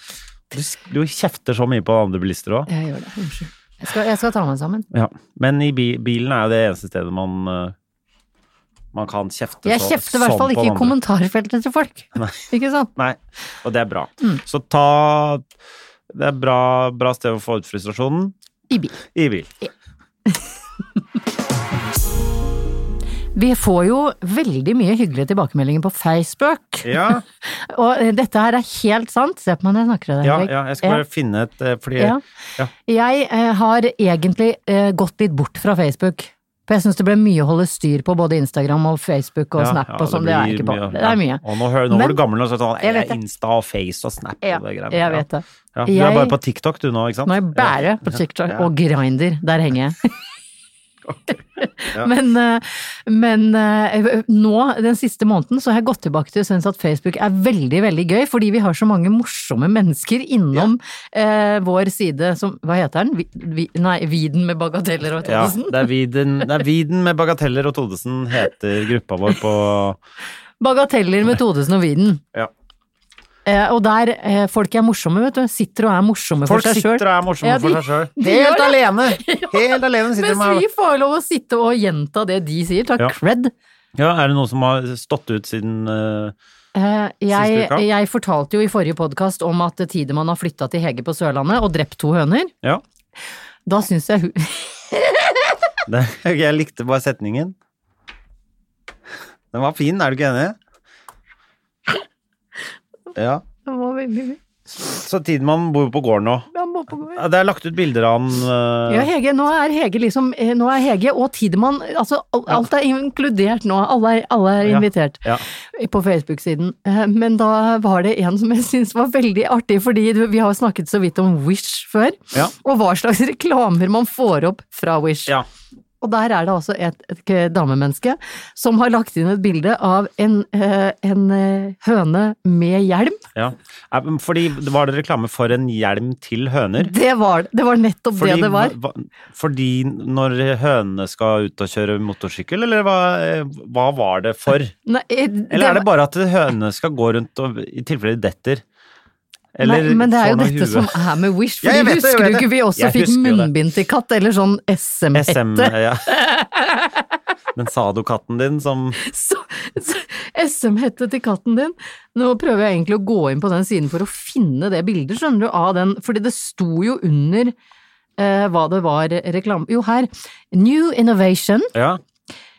Speaker 2: Du, s- du kjefter så mye på andre bilister òg.
Speaker 1: Jeg gjør det. Unnskyld. Jeg skal, jeg skal ta meg sammen.
Speaker 2: Ja. Men i bi bilen er jo det eneste stedet man eh, man kan kjefte
Speaker 1: Jeg
Speaker 2: så-
Speaker 1: kjefter i hvert
Speaker 2: sånn
Speaker 1: fall
Speaker 2: på
Speaker 1: ikke i
Speaker 2: andre.
Speaker 1: kommentarfeltet til folk.
Speaker 2: Nei.
Speaker 1: Ikke sant?
Speaker 2: Nei, og det er bra.
Speaker 1: Mm.
Speaker 2: Så ta Det er bra, bra sted å få ut frustrasjonen.
Speaker 1: I bil.
Speaker 2: I bil.
Speaker 1: Vi får jo veldig mye hyggelige tilbakemeldinger på Facebook.
Speaker 2: Ja,
Speaker 1: Og eh, dette her er helt sant. Se på meg når jeg snakker til deg.
Speaker 2: ja,
Speaker 1: Henrik.
Speaker 2: ja jeg skal bare finne et eh, Fordi
Speaker 1: Ja.
Speaker 2: ja.
Speaker 1: Jeg eh, har egentlig eh, gått litt bort fra Facebook. For jeg syns det ble mye å holde styr på både Instagram og Facebook og
Speaker 2: Ja,
Speaker 1: Snap
Speaker 2: ja,
Speaker 1: og sånn. Det, er
Speaker 2: blir
Speaker 1: jeg ikke på.
Speaker 2: mye,
Speaker 1: Det
Speaker 2: ja.
Speaker 1: er mye.
Speaker 2: Og nå, hører, nå
Speaker 1: Men-
Speaker 2: var du gammel og så sånn
Speaker 1: Jeg
Speaker 2: Jeg
Speaker 1: vet
Speaker 2: er
Speaker 1: det.
Speaker 2: Insta og Face og Snap
Speaker 1: Ja,
Speaker 2: og det greiene.
Speaker 1: jeg vet det.
Speaker 2: Ja. Du
Speaker 1: Jeg-
Speaker 2: er bare på TikTok du nå, ikke sant?
Speaker 1: Nå er jeg bare på TikTok og Grinder. Der henger jeg. Men, eh, men eh, nå, den siste måneden, så har jeg gått tilbake til å synes at Facebook er veldig, veldig gøy, fordi vi har så mange morsomme mennesker innom eh, vår side som Hva heter den? Vi, vi, nei, Viden med bagateller og
Speaker 2: Ja,
Speaker 1: Thodesen.
Speaker 2: det er Viden, det er Viden med Bagateller og Todesen heter gruppa vår på
Speaker 1: Bagateller med Thodesen og Viden.
Speaker 2: Ja.
Speaker 1: Eh, og der eh, folk er morsomme, vet du. Sitter og er morsomme
Speaker 2: Folk
Speaker 1: for seg sjøl.
Speaker 2: sitter og er morsomme
Speaker 1: Ja, de-
Speaker 2: for seg sjøl.
Speaker 1: de gjør
Speaker 2: Helt
Speaker 1: det.
Speaker 2: alene! Helt alene sitter de
Speaker 1: Mens
Speaker 2: her.
Speaker 1: vi får lov å sitte og gjenta det de sier. Takk
Speaker 2: Ja.
Speaker 1: cred.
Speaker 2: Ja, er det noen som har stått ut siden eh,
Speaker 1: Eh, jeg,
Speaker 2: Siste uka.
Speaker 1: jeg fortalte jo i forrige podkast om at Tidemann har flytta til Hege på Sørlandet og drept to høner.
Speaker 2: Ja.
Speaker 1: Da syns jeg hun
Speaker 2: Det, jeg likte bare setningen. Den var fin, er du ikke enig? Ja.
Speaker 1: Det var veldig mye.
Speaker 2: Så Tidemann bor jo på gården nå.
Speaker 1: Han må på gård.
Speaker 2: Ja, Det er lagt ut bilder av han eh,
Speaker 1: Ja, Hege, nå er Hege liksom eh, Nå er Hege og Tidemann altså, al- Alt er inkludert nå. Alle er, alle er
Speaker 2: Ja.
Speaker 1: invitert.
Speaker 2: Ja.
Speaker 1: på Facebook-siden. Eh, Men da var det en som jeg syntes var veldig artig, fordi du- vi har snakket så vidt om Wish før,
Speaker 2: Ja.
Speaker 1: og hva slags reklamer man får opp fra Wish.
Speaker 2: Ja.
Speaker 1: Og der er det altså et, et k- damemenneske som har lagt inn et bilde av en, eh, en eh, høne med hjelm.
Speaker 2: ja. Eh, men Fordi det var det reklame for en hjelm til høner?
Speaker 1: Det var, det var nettopp det det var.
Speaker 2: hva- fordi når hønene skal ut og kjøre motorsykkel, eller hva, eh, hva var det for?
Speaker 1: Nei, eh,
Speaker 2: Eller er det
Speaker 1: var-
Speaker 2: bare at hønene skal gå rundt og i tilfelle de detter?
Speaker 1: Nei, men det er jo
Speaker 2: får noe
Speaker 1: dette som er med Wish,
Speaker 2: sånn Ja,
Speaker 1: fordi
Speaker 2: jeg vet det, jeg
Speaker 1: husker
Speaker 2: vet
Speaker 1: du ikke
Speaker 2: det.
Speaker 1: vi også
Speaker 2: Jeg
Speaker 1: fikk
Speaker 2: husker jo det.
Speaker 1: munnbind til katt, eller sånn SM-hette?
Speaker 2: SM, ja. Den sadokatten din som
Speaker 1: Så, så SM-hette til katten din. Nå prøver jeg egentlig å gå inn på den siden for å finne det bildet, skjønner du, av den, fordi det sto jo under eh, hva det var reklame Jo, her. New innovation,
Speaker 2: Ja.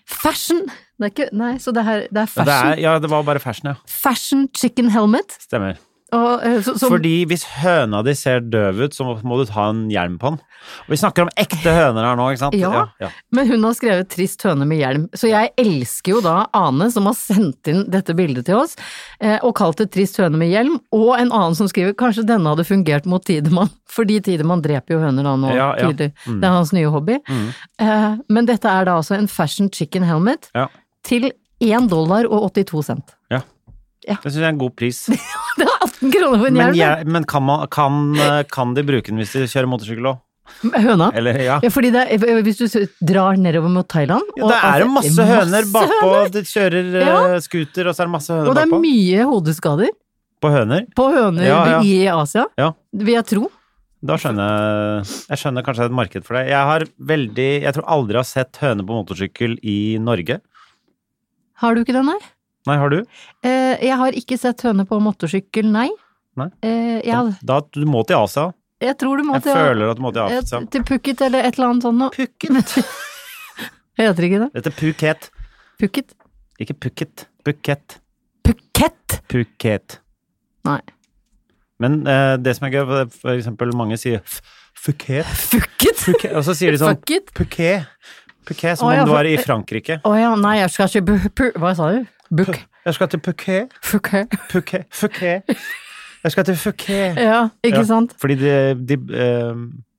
Speaker 1: fashion Det er ikke, nei, så det, her,
Speaker 2: Ja,
Speaker 1: det er fashion.
Speaker 2: det, er, ja, det var bare fashion, ja.
Speaker 1: Fashion chicken helmet.
Speaker 2: Stemmer.
Speaker 1: Og, eh, så, som,
Speaker 2: Fordi hvis høna di ser døv ut, så må du ta en hjelm på den. Og vi snakker om ekte høner her nå, ikke sant?
Speaker 1: Ja. Men hun har skrevet 'Trist høne med hjelm', så jeg elsker jo da Ane som har sendt inn dette bildet til oss, eh, og kalt det 'Trist høne med hjelm', og en annen som skriver 'Kanskje denne hadde fungert mot Tidemann', fordi Tidemann dreper jo høner da nå,
Speaker 2: Ja, ja. Mm.
Speaker 1: tydelig. Det er hans nye hobby. Eh, men dette er da altså en fashion chicken helmet
Speaker 2: Ja.
Speaker 1: til 1 dollar og 82 cent.
Speaker 2: ja.
Speaker 1: Ja.
Speaker 2: Det syns jeg er en god pris.
Speaker 1: Det er 18 kroner for en
Speaker 2: Men,
Speaker 1: hjelm! ja.
Speaker 2: jeg, men kan, man, kan, eh, kan de bruke den hvis de kjører motorsykkel òg?
Speaker 1: Høna.
Speaker 2: Eller, ja.
Speaker 1: Ja, fordi det er, eh, hvis du s- drar nedover mot Thailand og- altså,
Speaker 2: Det er jo
Speaker 1: det
Speaker 2: masse
Speaker 1: er
Speaker 2: høner bakpå,
Speaker 1: høner,
Speaker 2: de kjører eh,
Speaker 1: Ja.
Speaker 2: scooter, og så er det masse
Speaker 1: Og
Speaker 2: høner
Speaker 1: det er
Speaker 2: bakpå.
Speaker 1: mye hodeskader.
Speaker 2: På høner?
Speaker 1: på høner
Speaker 2: Ja, ja.
Speaker 1: i Asia,
Speaker 2: Ja.
Speaker 1: vil jeg tro.
Speaker 2: Da skjønner jeg Jeg skjønner kanskje det er et marked for det. Jeg har veldig Jeg tror aldri jeg har sett høne på motorsykkel i Norge.
Speaker 1: Har du ikke den, nei?
Speaker 2: Nei, har du?
Speaker 1: Eh, jeg har ikke sett høne på motorsykkel, nei.
Speaker 2: Nei.
Speaker 1: Eh, jeg, hadde-
Speaker 2: Da, du må til Asia.
Speaker 1: jeg tror du må
Speaker 2: Jeg føler at du må til
Speaker 1: eh,
Speaker 2: Asia.
Speaker 1: til Phuket eller et eller annet sånt noe.
Speaker 2: Phuket.
Speaker 1: Heter ikke det?
Speaker 2: Dette er Phuket.
Speaker 1: Phuket?
Speaker 2: Ikke Phuket. Phuket.
Speaker 1: Phuket!
Speaker 2: Phuket.
Speaker 1: Nei.
Speaker 2: Men eh, det som er gøy, for- for eksempel mange sier f- Phuket,
Speaker 1: Phuket?
Speaker 2: Phuket, og så sier de sånn
Speaker 1: Phuket?
Speaker 2: Phuket. Phuket, som
Speaker 1: Å, ja,
Speaker 2: om du
Speaker 1: for-
Speaker 2: er i Frankrike.
Speaker 1: Å ja, nei, jeg skal ikke bu- pu- Hva sa du? Buk.
Speaker 2: Jeg skal til Phuket.
Speaker 1: Phuket.
Speaker 2: Phuket. Phuket. Jeg skal til Phuket.
Speaker 1: Ja, ikke
Speaker 2: Ja.
Speaker 1: sant?
Speaker 2: Fordi de, de eh,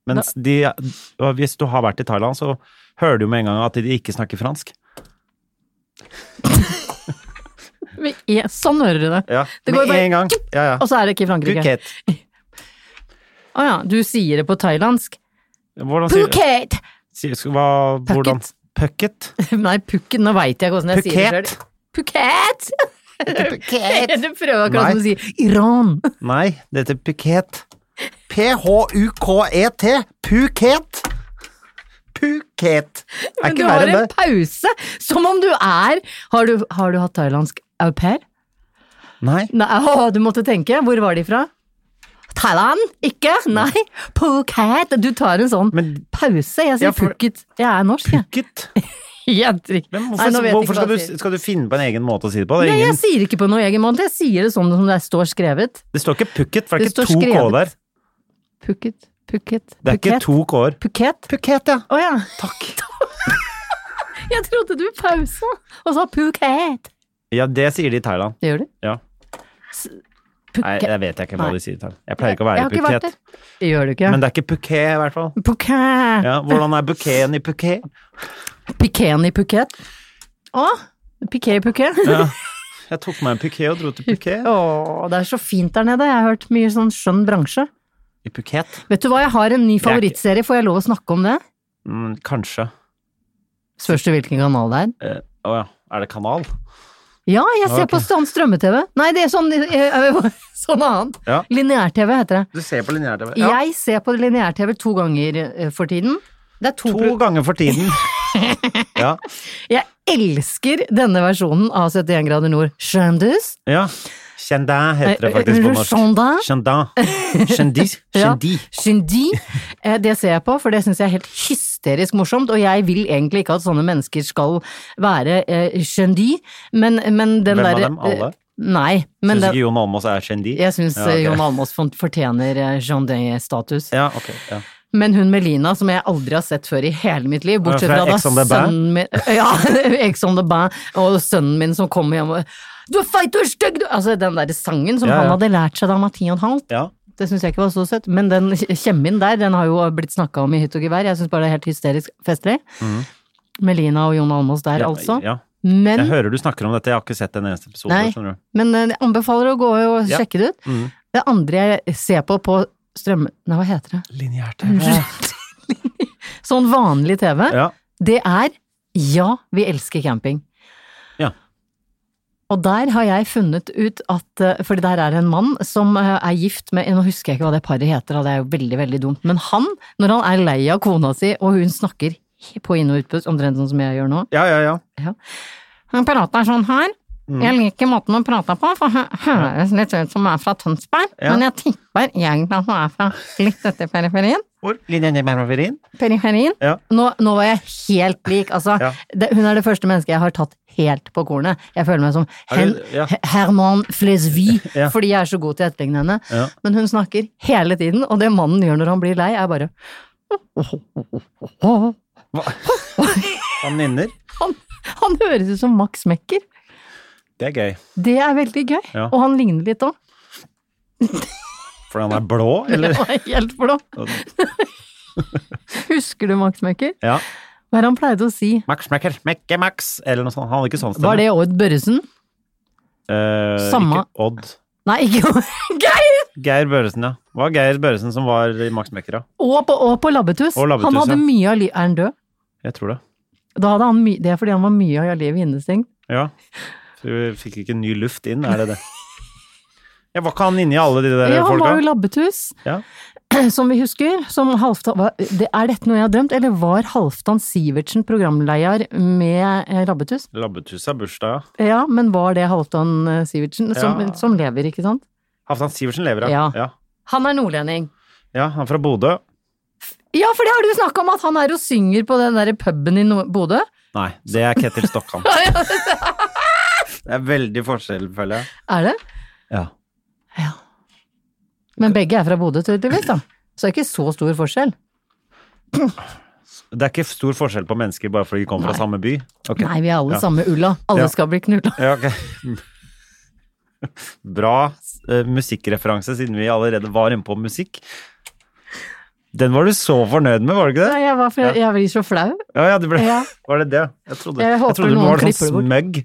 Speaker 2: Mens de og Hvis du har vært i Thailand, så hører du med en gang at de ikke snakker fransk.
Speaker 1: Men, ja, sånn hører du det.
Speaker 2: Ja,
Speaker 1: Det går
Speaker 2: med
Speaker 1: bare-
Speaker 2: en gang. Ja, ja.
Speaker 1: Og så er det ikke i Frankrike.
Speaker 2: Phuket.
Speaker 1: Å ja, du sier det på thailandsk.
Speaker 2: Hvordan sier
Speaker 1: Phuket!
Speaker 2: sier- sk- hva, hvordan? Phuket.
Speaker 1: Nei, Phuket, nå veit jeg ikke åssen jeg sier det
Speaker 2: Phuket.
Speaker 1: sjøl. Phuket!
Speaker 2: Phuket.
Speaker 1: Du
Speaker 2: Nei.
Speaker 1: prøver akkurat som du sier Iran.
Speaker 2: Nei, det heter Phuket. P-h-u-k-e-t. Phuket. Phuket. Er
Speaker 1: Men du
Speaker 2: ikke
Speaker 1: har
Speaker 2: verre enn
Speaker 1: en
Speaker 2: det.
Speaker 1: pause! Som om du er Har du, har du hatt thailandsk au pair?
Speaker 2: Nei.
Speaker 1: Nei, å, du måtte tenke. Hvor var de fra? Thailand? Ikke? Nei. Phuket. Du tar en sånn
Speaker 2: Men-
Speaker 1: pause. Jeg sier
Speaker 2: Ja, for-
Speaker 1: Phuket. Jeg er norsk, jeg.
Speaker 2: Phuket?
Speaker 1: Jeg drikker-
Speaker 2: Men
Speaker 1: Nei,
Speaker 2: hvorfor,
Speaker 1: nå vet jeg ikke
Speaker 2: hvorfor
Speaker 1: hva
Speaker 2: skal,
Speaker 1: jeg
Speaker 2: du,
Speaker 1: sier.
Speaker 2: skal du finne på en egen måte å si det på? Det, er
Speaker 1: Nei, jeg
Speaker 2: egen,
Speaker 1: sier ikke på noe egen måte. Jeg sier det sånn som det står skrevet.
Speaker 2: det står ikke Phuket, for det er
Speaker 1: Det
Speaker 2: ikke
Speaker 1: står
Speaker 2: to k
Speaker 1: skrevet.
Speaker 2: der.
Speaker 1: Phuket. Phuket.
Speaker 2: Det er ikke
Speaker 1: Phuket.
Speaker 2: to k-er.
Speaker 1: Phuket.
Speaker 2: Phuket, ja.
Speaker 1: Å ja. Takk. jeg trodde du pausa, og så Phuket.
Speaker 2: Ja, det sier de i Thailand.
Speaker 1: Det gjør du.
Speaker 2: Ja. Nei,
Speaker 1: Phuket.
Speaker 2: jeg vet ikke hva
Speaker 1: Nei.
Speaker 2: de sier i Thailand. Jeg pleier ikke å være
Speaker 1: Jeg har
Speaker 2: i
Speaker 1: ikke vært
Speaker 2: Phuket.
Speaker 1: der. Det gjør du ikke.
Speaker 2: Men det er ikke Phuket, i hvert fall.
Speaker 1: Phuket.
Speaker 2: Ja, hvordan er bukeen i Phuket?
Speaker 1: Piken i Phuket. Å, piké i Phuket.
Speaker 2: Ja. Jeg tok meg en Phuket og dro til Phuket.
Speaker 1: Å, det er så fint der nede. Jeg har hørt mye sånn skjønn bransje.
Speaker 2: I Phuket?
Speaker 1: Vet du hva, jeg har en
Speaker 2: er
Speaker 1: ny
Speaker 2: ikke-
Speaker 1: favorittserie. Får jeg lov å snakke om det?
Speaker 2: Mm, kanskje.
Speaker 1: Spørs det hvilken kanal det er.
Speaker 2: Å eh, å ja, er det kanal?
Speaker 1: Ja, jeg ser
Speaker 2: Ok.
Speaker 1: på sånn strømme-TV. Nei, det er sånn, eh, sånn annet.
Speaker 2: Ja.
Speaker 1: Lineær-TV heter det.
Speaker 2: Du ser på linjær-TV?
Speaker 1: Jeg ser på lineær-TV to ganger eh, for tiden. Det er to,
Speaker 2: To
Speaker 1: pro
Speaker 2: ganger for tiden. Ja.
Speaker 1: Jeg elsker denne versjonen av 71 grader nord. Skjøndus?
Speaker 2: ja. Chendin heter det
Speaker 1: Eh,
Speaker 2: faktisk på norsk.
Speaker 1: Chendin?
Speaker 2: Chendin. Chendis.
Speaker 1: Ja.
Speaker 2: Chendi.
Speaker 1: Shindy. Eh, Det ser jeg på, for det syns jeg er helt hysterisk morsomt, og jeg vil egentlig ikke at sånne mennesker skal være eh, shindy, men, men den
Speaker 2: Hvem av
Speaker 1: derre
Speaker 2: dem? Alle?
Speaker 1: eh, Nei. Men
Speaker 2: Syns
Speaker 1: den,
Speaker 2: ikke Jon Almaas er Chendi?
Speaker 1: jeg syns
Speaker 2: Ja, ok.
Speaker 1: Jon Almaas font- fortjener eh, Jean-Day-status.
Speaker 2: Ja, ok. Ja.
Speaker 1: Men hun Melina, som jeg aldri har sett før i hele mitt liv, bortsett
Speaker 2: fra
Speaker 1: fra da
Speaker 2: Ex on the Bain?
Speaker 1: sønnen min Ja, Ex on the Bain, og sønnen min som kommer hjem og Du er feit, du er stygg, du Altså den derre sangen som
Speaker 2: Ja,
Speaker 1: han
Speaker 2: ja.
Speaker 1: hadde lært seg da han var ti og en halv.
Speaker 2: ja.
Speaker 1: Det syns jeg ikke var så søtt. Men den kjemmen der, den har jo blitt snakka om i hytt og gevær. Jeg syns bare det er helt hysterisk festlig. Melina og Jon Almaas der,
Speaker 2: Mm. ja,
Speaker 1: altså.
Speaker 2: Ja. Jeg
Speaker 1: Men,
Speaker 2: hører du snakker om dette, jeg har ikke sett en eneste episode.
Speaker 1: Nei.
Speaker 2: skjønner du.
Speaker 1: men eh, jeg anbefaler å gå og
Speaker 2: Ja.
Speaker 1: sjekke det ut.
Speaker 2: Mhm.
Speaker 1: Det andre jeg ser på på strøm... Nei, hva heter det?
Speaker 2: Linjær-TV.
Speaker 1: Sånn vanlig TV,
Speaker 2: Ja.
Speaker 1: det er Ja, vi elsker camping.
Speaker 2: Ja.
Speaker 1: Og der har jeg funnet ut at eh, Fordi der er det en mann som eh, er gift med Nå husker jeg ikke hva det paret heter, og det er jo veldig, veldig dumt. Men han, når han er lei av kona si, og hun snakker på inn- og utpust, omtrent sånn som jeg gjør nå
Speaker 2: ja, ja, ja.
Speaker 1: Han prater sånn her. Jeg liker måten hun prater på, for hun høres litt ut som hun er fra Tønsberg.
Speaker 2: Ja.
Speaker 1: Men jeg tipper egentlig at hun er fra litt ute i periferien.
Speaker 2: ord. Linja Marmaverin.
Speaker 1: Penny Hennin.
Speaker 2: Ja.
Speaker 1: Nå, nå var jeg helt lik, altså.
Speaker 2: Ja.
Speaker 1: Det, hun er det første mennesket jeg har tatt helt på kornet. Jeg føler meg som
Speaker 2: Er
Speaker 1: Hen,
Speaker 2: du- ja.
Speaker 1: He- Herman Flesvig,
Speaker 2: Ja.
Speaker 1: fordi jeg er så god til å etterligne henne.
Speaker 2: Ja.
Speaker 1: Men hun snakker hele tiden, og det mannen gjør når han blir lei, er bare
Speaker 2: Han nynner.
Speaker 1: Han, han høres ut som Max Mekker.
Speaker 2: Det er gøy.
Speaker 1: Det er veldig gøy.
Speaker 2: Ja.
Speaker 1: Og han ligner litt òg.
Speaker 2: Fordi han er blå, eller?
Speaker 1: Han er helt blå. Husker du Max Mekker?
Speaker 2: Ja.
Speaker 1: Hva er det han pleide å si?
Speaker 2: Max Mekker, Mekke Max, eller noe sånt. Han hadde ikke sånn stemme.
Speaker 1: Var det Odd Børresen?
Speaker 2: Eh,
Speaker 1: Samme.
Speaker 2: Ikke Odd.
Speaker 1: Nei, ikke Geir!
Speaker 2: Geir Børresen, ja. Det var Geir Børresen som var i Max Mekker, ja.
Speaker 1: Og på, og på labbetuss.
Speaker 2: Og Labbetuss,
Speaker 1: Han
Speaker 2: ja.
Speaker 1: hadde mye av livet Er han død?
Speaker 2: Jeg tror det.
Speaker 1: Da hadde han mye- det er fordi han var mye av livet innestengt.
Speaker 2: Ja. Så vi fikk ikke ny luft inn, er det det? Jeg var ikke han inni alle de der
Speaker 1: Ja, han var jo
Speaker 2: folka?
Speaker 1: labbetuss,
Speaker 2: Ja.
Speaker 1: som vi husker. Som Halvdan hva- det- Er dette noe jeg har drømt, eller var Halvdan Sivertsen programleder med eh, labbetuss?
Speaker 2: Labbetuss er bursdag, ja.
Speaker 1: Ja, men var det Halvdan eh, Sivertsen som,
Speaker 2: Ja.
Speaker 1: som lever, ikke sant?
Speaker 2: Halvdan Sivertsen lever, ja.
Speaker 1: Ja.
Speaker 2: ja.
Speaker 1: Han er nordlending.
Speaker 2: Ja, han er fra Bodø.
Speaker 1: Ja, for det har du snakka om, at han er og synger på den derre puben i Nord- Bodø.
Speaker 2: Nei, det er Ketil Stokkan. Det er veldig forskjell, føler jeg.
Speaker 1: Er det?
Speaker 2: Ja.
Speaker 1: Men begge er fra Bodø, tydeligvis, da. Så det er ikke så stor forskjell.
Speaker 2: Det er ikke stor forskjell på mennesker bare fordi de kommer fra samme by? Ok.
Speaker 1: Nei, vi er alle
Speaker 2: Ja.
Speaker 1: samme ulla. Alle
Speaker 2: Ja.
Speaker 1: skal bli knulla.
Speaker 2: Ja, ok. Bra eh, musikkreferanse, siden vi allerede var inne på musikk. Den var du så fornøyd med, var du ikke det?
Speaker 1: Nei, Jeg, var- jeg, jeg blir så flau.
Speaker 2: Ja, ja, det ble,
Speaker 1: Ja.
Speaker 2: Var det det? Jeg trodde,
Speaker 1: Jeg håper
Speaker 2: trodde du
Speaker 1: noen
Speaker 2: var sånn
Speaker 1: klipper det bort.
Speaker 2: smøgg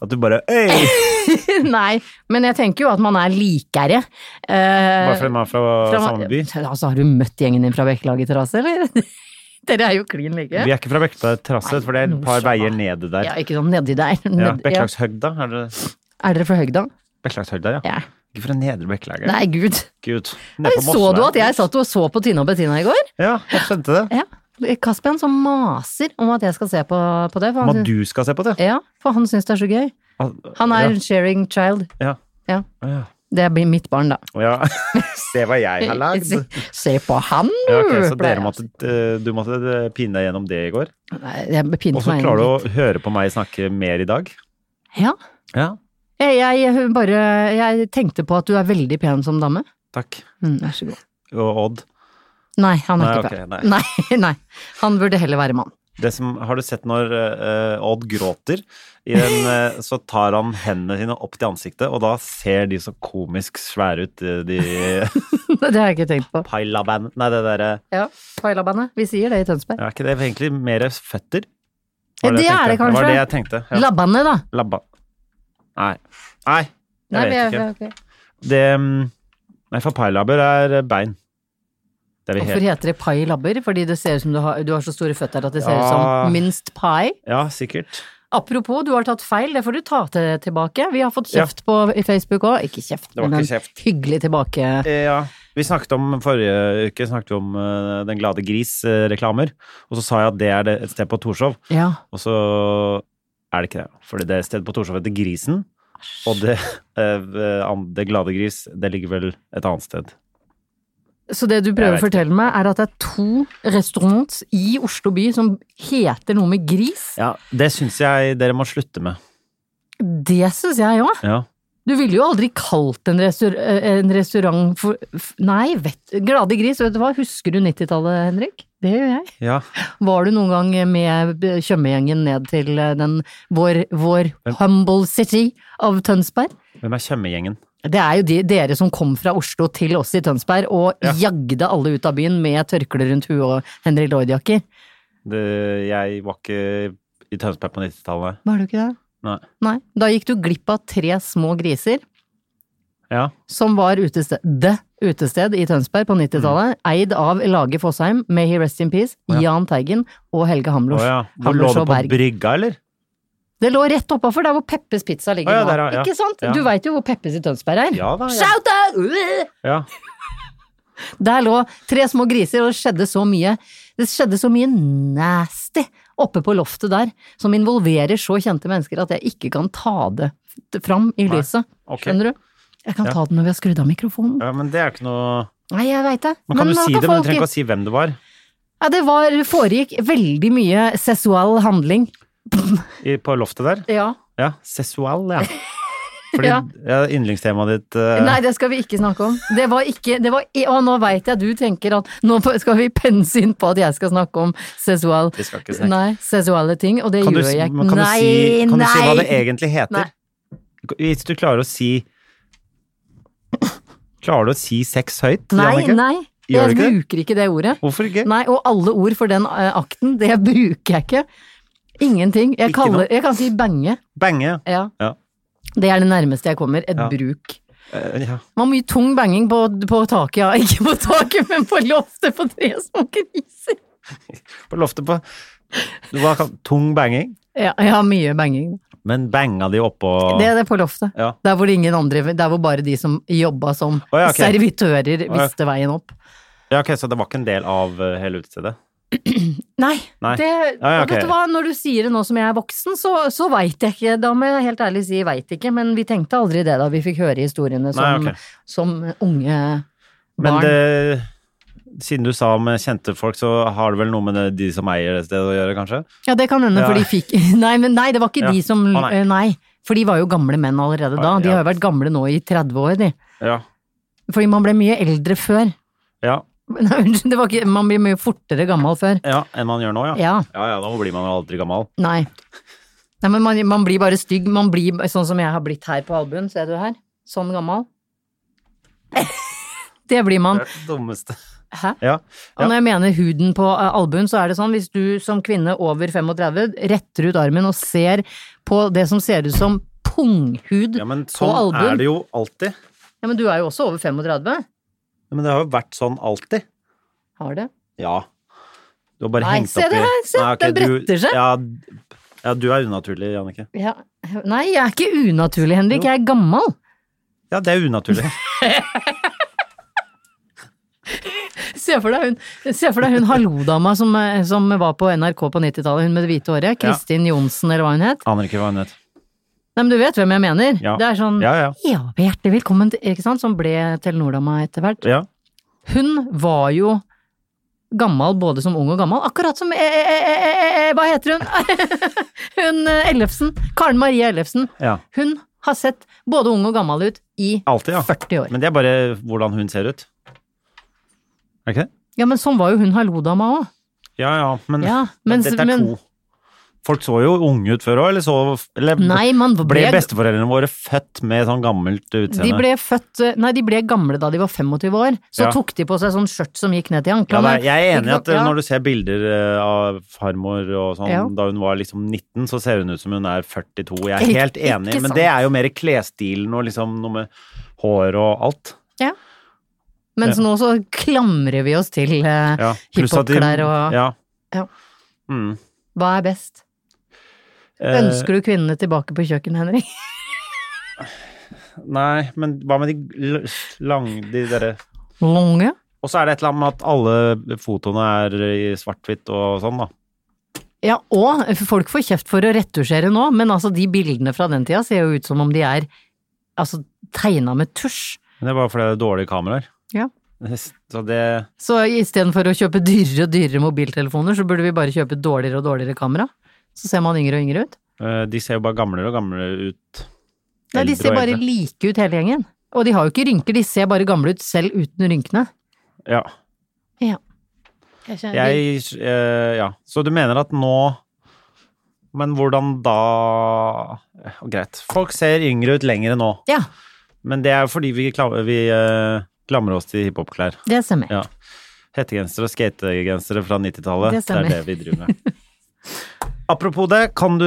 Speaker 2: at du bare Øy!
Speaker 1: Nei, men jeg tenker jo at man er likere. Eh,
Speaker 2: Bare fordi man er fra,
Speaker 1: fra-
Speaker 2: samme by.
Speaker 1: Altså, har du møtt gjengen din fra Bekkelaget terrasse, eller? Dere er jo klin like.
Speaker 2: Vi er ikke fra Bekkelaget terrasse, for det er et par veier nede der.
Speaker 1: Ja, ikke sånn nedi der.
Speaker 2: Ja,
Speaker 1: Ned, ja.
Speaker 2: Bekkelagshøgda, er det
Speaker 1: Er dere fra Høgda?
Speaker 2: Bekkelagshøgda, ja.
Speaker 1: Ja.
Speaker 2: Ikke fra Nedre Bekkelaget.
Speaker 1: Nei, gud.
Speaker 2: Gud. nede på
Speaker 1: Så
Speaker 2: Mossveien.
Speaker 1: du at jeg satt og så på Tina og Bettina i går?
Speaker 2: Ja, jeg skjønte det.
Speaker 1: Ja. Kaspian som maser om at jeg skal se på, på det. For
Speaker 2: Om at
Speaker 1: han, syns-
Speaker 2: du skal se på det.
Speaker 1: ja, for han syns det er så gøy. Han er sharing child.
Speaker 2: Ja.
Speaker 1: Ja.
Speaker 2: Ja.
Speaker 1: Det blir mitt barn, da.
Speaker 2: ja. Se hva jeg har lagd.
Speaker 1: Se, se på han, du!
Speaker 2: Ja, ok, så dere
Speaker 1: pleier jeg.
Speaker 2: måtte, eh, du måtte eh, pine deg gjennom det i går.
Speaker 1: Nei, Jeg
Speaker 2: Og
Speaker 1: pinte
Speaker 2: så
Speaker 1: meg
Speaker 2: klarer du
Speaker 1: inn.
Speaker 2: å høre på meg snakke mer i dag.
Speaker 1: Ja.
Speaker 2: Ja,
Speaker 1: Eh, Jeg, jeg, bare, jeg tenkte på at du er veldig pen som dame.
Speaker 2: takk.
Speaker 1: Mm, vær så god.
Speaker 2: Og Odd.
Speaker 1: Nei, han er
Speaker 2: Nei,
Speaker 1: ikke
Speaker 2: ok,
Speaker 1: pen.
Speaker 2: nei.
Speaker 1: Nei. Nei, Han burde heller være mann.
Speaker 2: Det som, har du sett når eh, Odd gråter? I den, eh, så tar han hendene sine opp til ansiktet, og da ser de så komisk svære ut, eh, de
Speaker 1: Det har jeg ikke tenkt på.
Speaker 2: Paila-band... Nei, det derre
Speaker 1: Ja, Paila-bandet. Vi sier det i Tønsberg.
Speaker 2: Er ikke det egentlig mer føtter?
Speaker 1: Ja,
Speaker 2: Var
Speaker 1: det
Speaker 2: jeg
Speaker 1: er
Speaker 2: tenkte.
Speaker 1: det kanskje.
Speaker 2: Var det jeg tenkte. Ja.
Speaker 1: Labbandet, da.
Speaker 2: Labba. Nei. Nei, jeg
Speaker 1: Nei,
Speaker 2: vet
Speaker 1: vi
Speaker 2: ikke.
Speaker 1: er- ok.
Speaker 2: Det mm, Nei, for pailaber er bein. Det er vi
Speaker 1: Hvorfor
Speaker 2: helt
Speaker 1: heter det pailabber? Fordi det ser ut som du har, du har så store føtter at det ser ut
Speaker 2: Ja.
Speaker 1: som minst pai.
Speaker 2: Ja, sikkert.
Speaker 1: Apropos, du har tatt feil, det får du ta til, tilbake. Vi har fått kjeft på i Facebook òg. Ikke kjeft,
Speaker 2: var
Speaker 1: men en
Speaker 2: ikke kjeft.
Speaker 1: hyggelig tilbake...
Speaker 2: Eh, Ja. Vi snakket om forrige uke snakket vi om eh, Den glade gris-reklamer, og så sa jeg at det er det et sted på Torshov,
Speaker 1: Ja.
Speaker 2: og så er det ikke det. Fordi det stedet på Torshov heter Grisen, og det, eh, an- det glade gris, det ligger vel et annet sted.
Speaker 1: Så det du
Speaker 2: Jeg
Speaker 1: prøver å
Speaker 2: vet ikke.
Speaker 1: fortelle meg, er at det er to restaurants i Oslo by som heter noe med gris?
Speaker 2: Ja, det syns jeg dere må slutte med.
Speaker 1: Det syns jeg òg.
Speaker 2: Ja.
Speaker 1: Du ville jo aldri kalt en, restaur eh, en restaurant for f- Nei, vet Glade gris, vet du hva? Husker du 90-tallet, Henrik? Det gjør jeg.
Speaker 2: ja.
Speaker 1: Var du noen gang med eh, Tjøme-gjengen ned til eh, den, vår, vår humble city av Tønsberg?
Speaker 2: Hvem er Tjøme-gjengen?
Speaker 1: Det er jo de, dere som kom fra Oslo til oss i Tønsberg og
Speaker 2: Ja.
Speaker 1: jagde alle ut av byen med tørkle rundt huet og Henry Lloyd-jakker.
Speaker 2: Det- Jeg var ikke i Tønsberg på 90-tallet.
Speaker 1: Var du ikke det?
Speaker 2: Nei.
Speaker 1: Nei, da gikk du glipp av tre små griser
Speaker 2: Ja.
Speaker 1: som var utested, det utested i Tønsberg på 90-tallet, eid av Lage Fosheim, May he rest in peace,
Speaker 2: Mm. Å ja.
Speaker 1: Jahn Teigen og Helge
Speaker 2: Å
Speaker 1: Hamlers.
Speaker 2: ja. Hvor lå
Speaker 1: Hamlers
Speaker 2: det
Speaker 1: og
Speaker 2: på
Speaker 1: Berg.
Speaker 2: brygga, eller?
Speaker 1: Det lå rett oppafor der hvor Peppes Pizza
Speaker 2: Å
Speaker 1: ligger
Speaker 2: ja,
Speaker 1: nå.
Speaker 2: der, ja.
Speaker 1: Ikke sant?
Speaker 2: Ja.
Speaker 1: Du veit jo hvor Peppes i Tønsberg er.
Speaker 2: Ja da, ja.
Speaker 1: Shout out!
Speaker 2: Ja.
Speaker 1: Der lå tre små griser, og det skjedde så mye Det skjedde så mye nasty oppe på loftet der, som involverer så kjente mennesker at jeg ikke kan ta det fram i lyset.
Speaker 2: ok.
Speaker 1: Skjønner du? Jeg kan
Speaker 2: Ja.
Speaker 1: ta det når vi har skrudd av mikrofonen.
Speaker 2: ja, men det er ikke noe
Speaker 1: Nei, jeg veit det.
Speaker 2: Man kan jo
Speaker 1: nå
Speaker 2: si det, men du
Speaker 1: folk-
Speaker 2: trenger ikke å si hvem det var
Speaker 1: ja, Det var, foregikk veldig mye seksual handling.
Speaker 2: i, på loftet der.
Speaker 1: Ja.
Speaker 2: Ja, Sessual, ja. Fordi ja.
Speaker 1: Ja.
Speaker 2: yndlingstemaet ditt eh,
Speaker 1: Nei, det skal vi ikke snakke om. Det var ikke det var, i- Og nå veit jeg du tenker at nå skal vi pense inn på at jeg skal snakke om seksual
Speaker 4: Vi skal ikke snakke.
Speaker 1: Nei, seksuale ting, og det
Speaker 2: kan, du,
Speaker 1: gjør
Speaker 2: si-
Speaker 1: jeg ikke.
Speaker 2: kan, du
Speaker 1: Nei,
Speaker 2: si, kan du si hva
Speaker 1: nei.
Speaker 2: det egentlig heter?
Speaker 1: Nei.
Speaker 2: Hvis du klarer å si Klarer du å si sex høyt,
Speaker 1: Nei,
Speaker 2: Jannicke?
Speaker 1: nei.
Speaker 2: Gjør
Speaker 1: Jeg
Speaker 2: du ikke det?
Speaker 1: bruker ikke det ordet.
Speaker 2: Hvorfor ikke?
Speaker 1: Nei, og alle ord for den eh, akten, det bruker jeg ikke. Ingenting. Jeg,
Speaker 2: Ikke
Speaker 1: kaller,
Speaker 2: noe.
Speaker 1: jeg kan si bange.
Speaker 2: Bange.
Speaker 1: Ja.
Speaker 2: Ja.
Speaker 1: Det er det nærmeste jeg kommer. Et
Speaker 2: Ja.
Speaker 1: bruk.
Speaker 2: Eh, ja.
Speaker 1: Det var mye tung banging på, på taket, ja. Ikke på taket, men på loftet på tre små griser.
Speaker 2: På loftet på Hva kan Tung banging?
Speaker 1: Ja, ja mye banging.
Speaker 2: Men banga de oppå
Speaker 1: Det er det på loftet.
Speaker 2: Ja.
Speaker 1: Der hvor ingen andre, der hvor bare de som jobba som
Speaker 2: Å, ja, ok.
Speaker 1: servitører,
Speaker 2: ja.
Speaker 1: visste veien opp.
Speaker 2: ja, ok, så det var ikke en del av eh, hele utestedet?
Speaker 1: Nei.
Speaker 2: Nei.
Speaker 1: Det,
Speaker 2: Ja, ja,
Speaker 1: og Vet
Speaker 2: ok.
Speaker 1: du hva, når du sier det nå som jeg er voksen, så, så veit jeg ikke. Da må jeg helt ærlig si veit ikke, men vi tenkte aldri det da vi fikk høre historiene som,
Speaker 2: ok.
Speaker 1: som unge
Speaker 2: Men eh,
Speaker 1: barn.
Speaker 2: det siden du sa med kjente folk, så har det vel noe med det, de som eier det stedet å gjøre, kanskje?
Speaker 1: Ja, det kan hende,
Speaker 2: Ja.
Speaker 1: for de fikk Nei, men nei, det var ikke
Speaker 2: Ja.
Speaker 1: de som
Speaker 2: Å, nei.
Speaker 1: eh, Nei. For de var jo gamle menn allerede da. De
Speaker 2: Ja.
Speaker 1: har jo vært gamle nå i 30 år, de.
Speaker 2: Ja.
Speaker 1: Fordi man ble mye eldre før.
Speaker 2: Ja,
Speaker 1: Nei, unnskyld, det var ikke Man blir mye fortere gammel før.
Speaker 2: ja enn man gjør nå, ja.
Speaker 1: Ja.
Speaker 2: Ja, ja, nå blir man jo aldri gammel.
Speaker 1: Nei. Nei, men man, man blir bare stygg. Man blir sånn som jeg har blitt her på albuen, ser du her? Sånn gammel. Det blir man.
Speaker 2: Det er det dummeste.
Speaker 1: Hæ?
Speaker 2: Ja.
Speaker 1: Og når jeg mener huden på eh, albuen, så er det sånn hvis du som kvinne over 35 retter ut armen og ser på det som ser ut som punghud
Speaker 2: ja, men
Speaker 1: på
Speaker 2: sånn
Speaker 1: albuen
Speaker 2: er det jo alltid.
Speaker 1: Ja, men du er jo også over 35.
Speaker 2: Ja, Men det har jo vært sånn alltid.
Speaker 1: Har det?
Speaker 2: Ja. Du har bare
Speaker 1: Nei,
Speaker 2: hengt
Speaker 1: se
Speaker 2: opp i
Speaker 1: det her, se,
Speaker 2: Nei, ok,
Speaker 1: den
Speaker 2: du-
Speaker 1: bretter seg.
Speaker 2: Ja, ja, du er unaturlig, Jannicke.
Speaker 1: Ja. Nei, jeg er ikke unaturlig, Henrik. Jeg er gammel.
Speaker 2: Ja, det er unaturlig.
Speaker 1: Se for deg hun, se for deg hun hallo-dama som, eh, som var på NRK på 90-tallet, hun med det hvite håret. Kristin Johnsen, eller hva hun het.
Speaker 2: Aner ikke hva hun het.
Speaker 1: Nei, men du vet hvem jeg mener.
Speaker 2: Ja.
Speaker 1: Det er sånn
Speaker 2: Ja, ja.
Speaker 1: ja, hjertelig velkommen til Ikke sant? Som ble Telenor-dama etter hvert.
Speaker 2: Ja.
Speaker 1: Hun var jo gammel både som ung og gammel, akkurat som eh, eh, eh, eh, eh, eh, Hva heter hun? hun eh, Ellefsen. Karen Marie Ellefsen.
Speaker 2: ja.
Speaker 1: Hun har sett både ung og gammel ut i
Speaker 2: Alltid, ja.
Speaker 1: 40 år.
Speaker 2: Men det er bare hvordan hun ser ut. Er det ikke det?
Speaker 1: Ja, men sånn var jo hun hallo-dama òg.
Speaker 2: Ja, ja, men,
Speaker 1: Ja,
Speaker 2: men
Speaker 1: mens-
Speaker 2: dette er
Speaker 1: men-
Speaker 2: to. Folk så jo unge ut før òg, eller så eller,
Speaker 1: Nei, man
Speaker 2: Ble
Speaker 1: ble,
Speaker 2: besteforeldrene våre født med sånn gammelt utseende?
Speaker 1: de ble født eh, Nei, de ble gamle da de var 25 år. Så
Speaker 2: Ja.
Speaker 1: tok de på seg sånn skjørt som gikk ned til
Speaker 2: ja,
Speaker 1: anklene.
Speaker 2: nei, jeg er enig i at
Speaker 1: Ikke sant?
Speaker 2: når du ser bilder eh, av farmor og sånn,
Speaker 1: Ja.
Speaker 2: da hun var liksom 19, så ser hun ut som hun er 42. Jeg
Speaker 1: Ikke-
Speaker 2: er helt enig,
Speaker 1: ikke
Speaker 2: men
Speaker 1: sant.
Speaker 2: det er jo mer klesstilen og liksom noe med hår og alt.
Speaker 1: ja. Mens nå så klamrer vi oss til eh,
Speaker 2: Ja. pluss at de-
Speaker 1: hiphop-klær og
Speaker 2: Ja.
Speaker 1: Ja.
Speaker 2: Mm.
Speaker 1: Hva er best?
Speaker 2: Eh,
Speaker 1: Ønsker du kvinnene tilbake på kjøkkenet, Henrik?
Speaker 2: Nei, men hva med de l- lang... De derre
Speaker 1: Lange?
Speaker 2: Og så er det et eller annet med at alle fotoene er i svart-hvitt og sånn, da.
Speaker 1: Ja, og folk får kjeft for å retusjere nå, men altså de bildene fra den tida ser jo ut som om de er altså tegna med tusj.
Speaker 2: Men det er bare fordi det er dårlige kameraer.
Speaker 1: Ja.
Speaker 2: Så det
Speaker 1: Så istedenfor å kjøpe dyrere og dyrere mobiltelefoner, så burde vi bare kjøpe dårligere og dårligere kamera. Så ser man yngre og yngre ut.
Speaker 2: eh, De ser jo bare gamlere og gamlere ut.
Speaker 1: Nei, de
Speaker 2: Eldre
Speaker 1: ser
Speaker 2: og
Speaker 1: bare
Speaker 2: eldre.
Speaker 1: like ut hele gjengen. Og de har jo ikke rynker, de ser bare gamle ut selv uten rynkene.
Speaker 2: Ja.
Speaker 1: Ja.
Speaker 2: Jeg eh, Ja. Så du mener at nå Men hvordan da Eh, Greit. Folk ser yngre ut lenger nå.
Speaker 1: Ja,
Speaker 2: Men det er jo fordi vi, kla- vi eh, klamrer oss til hiphop-klær.
Speaker 1: det stemmer.
Speaker 2: Ja. Hettegensere og skategensere fra 90-tallet.
Speaker 1: Det
Speaker 2: Det,
Speaker 1: stemmer.
Speaker 2: er det vi driver med. Apropos det, kan du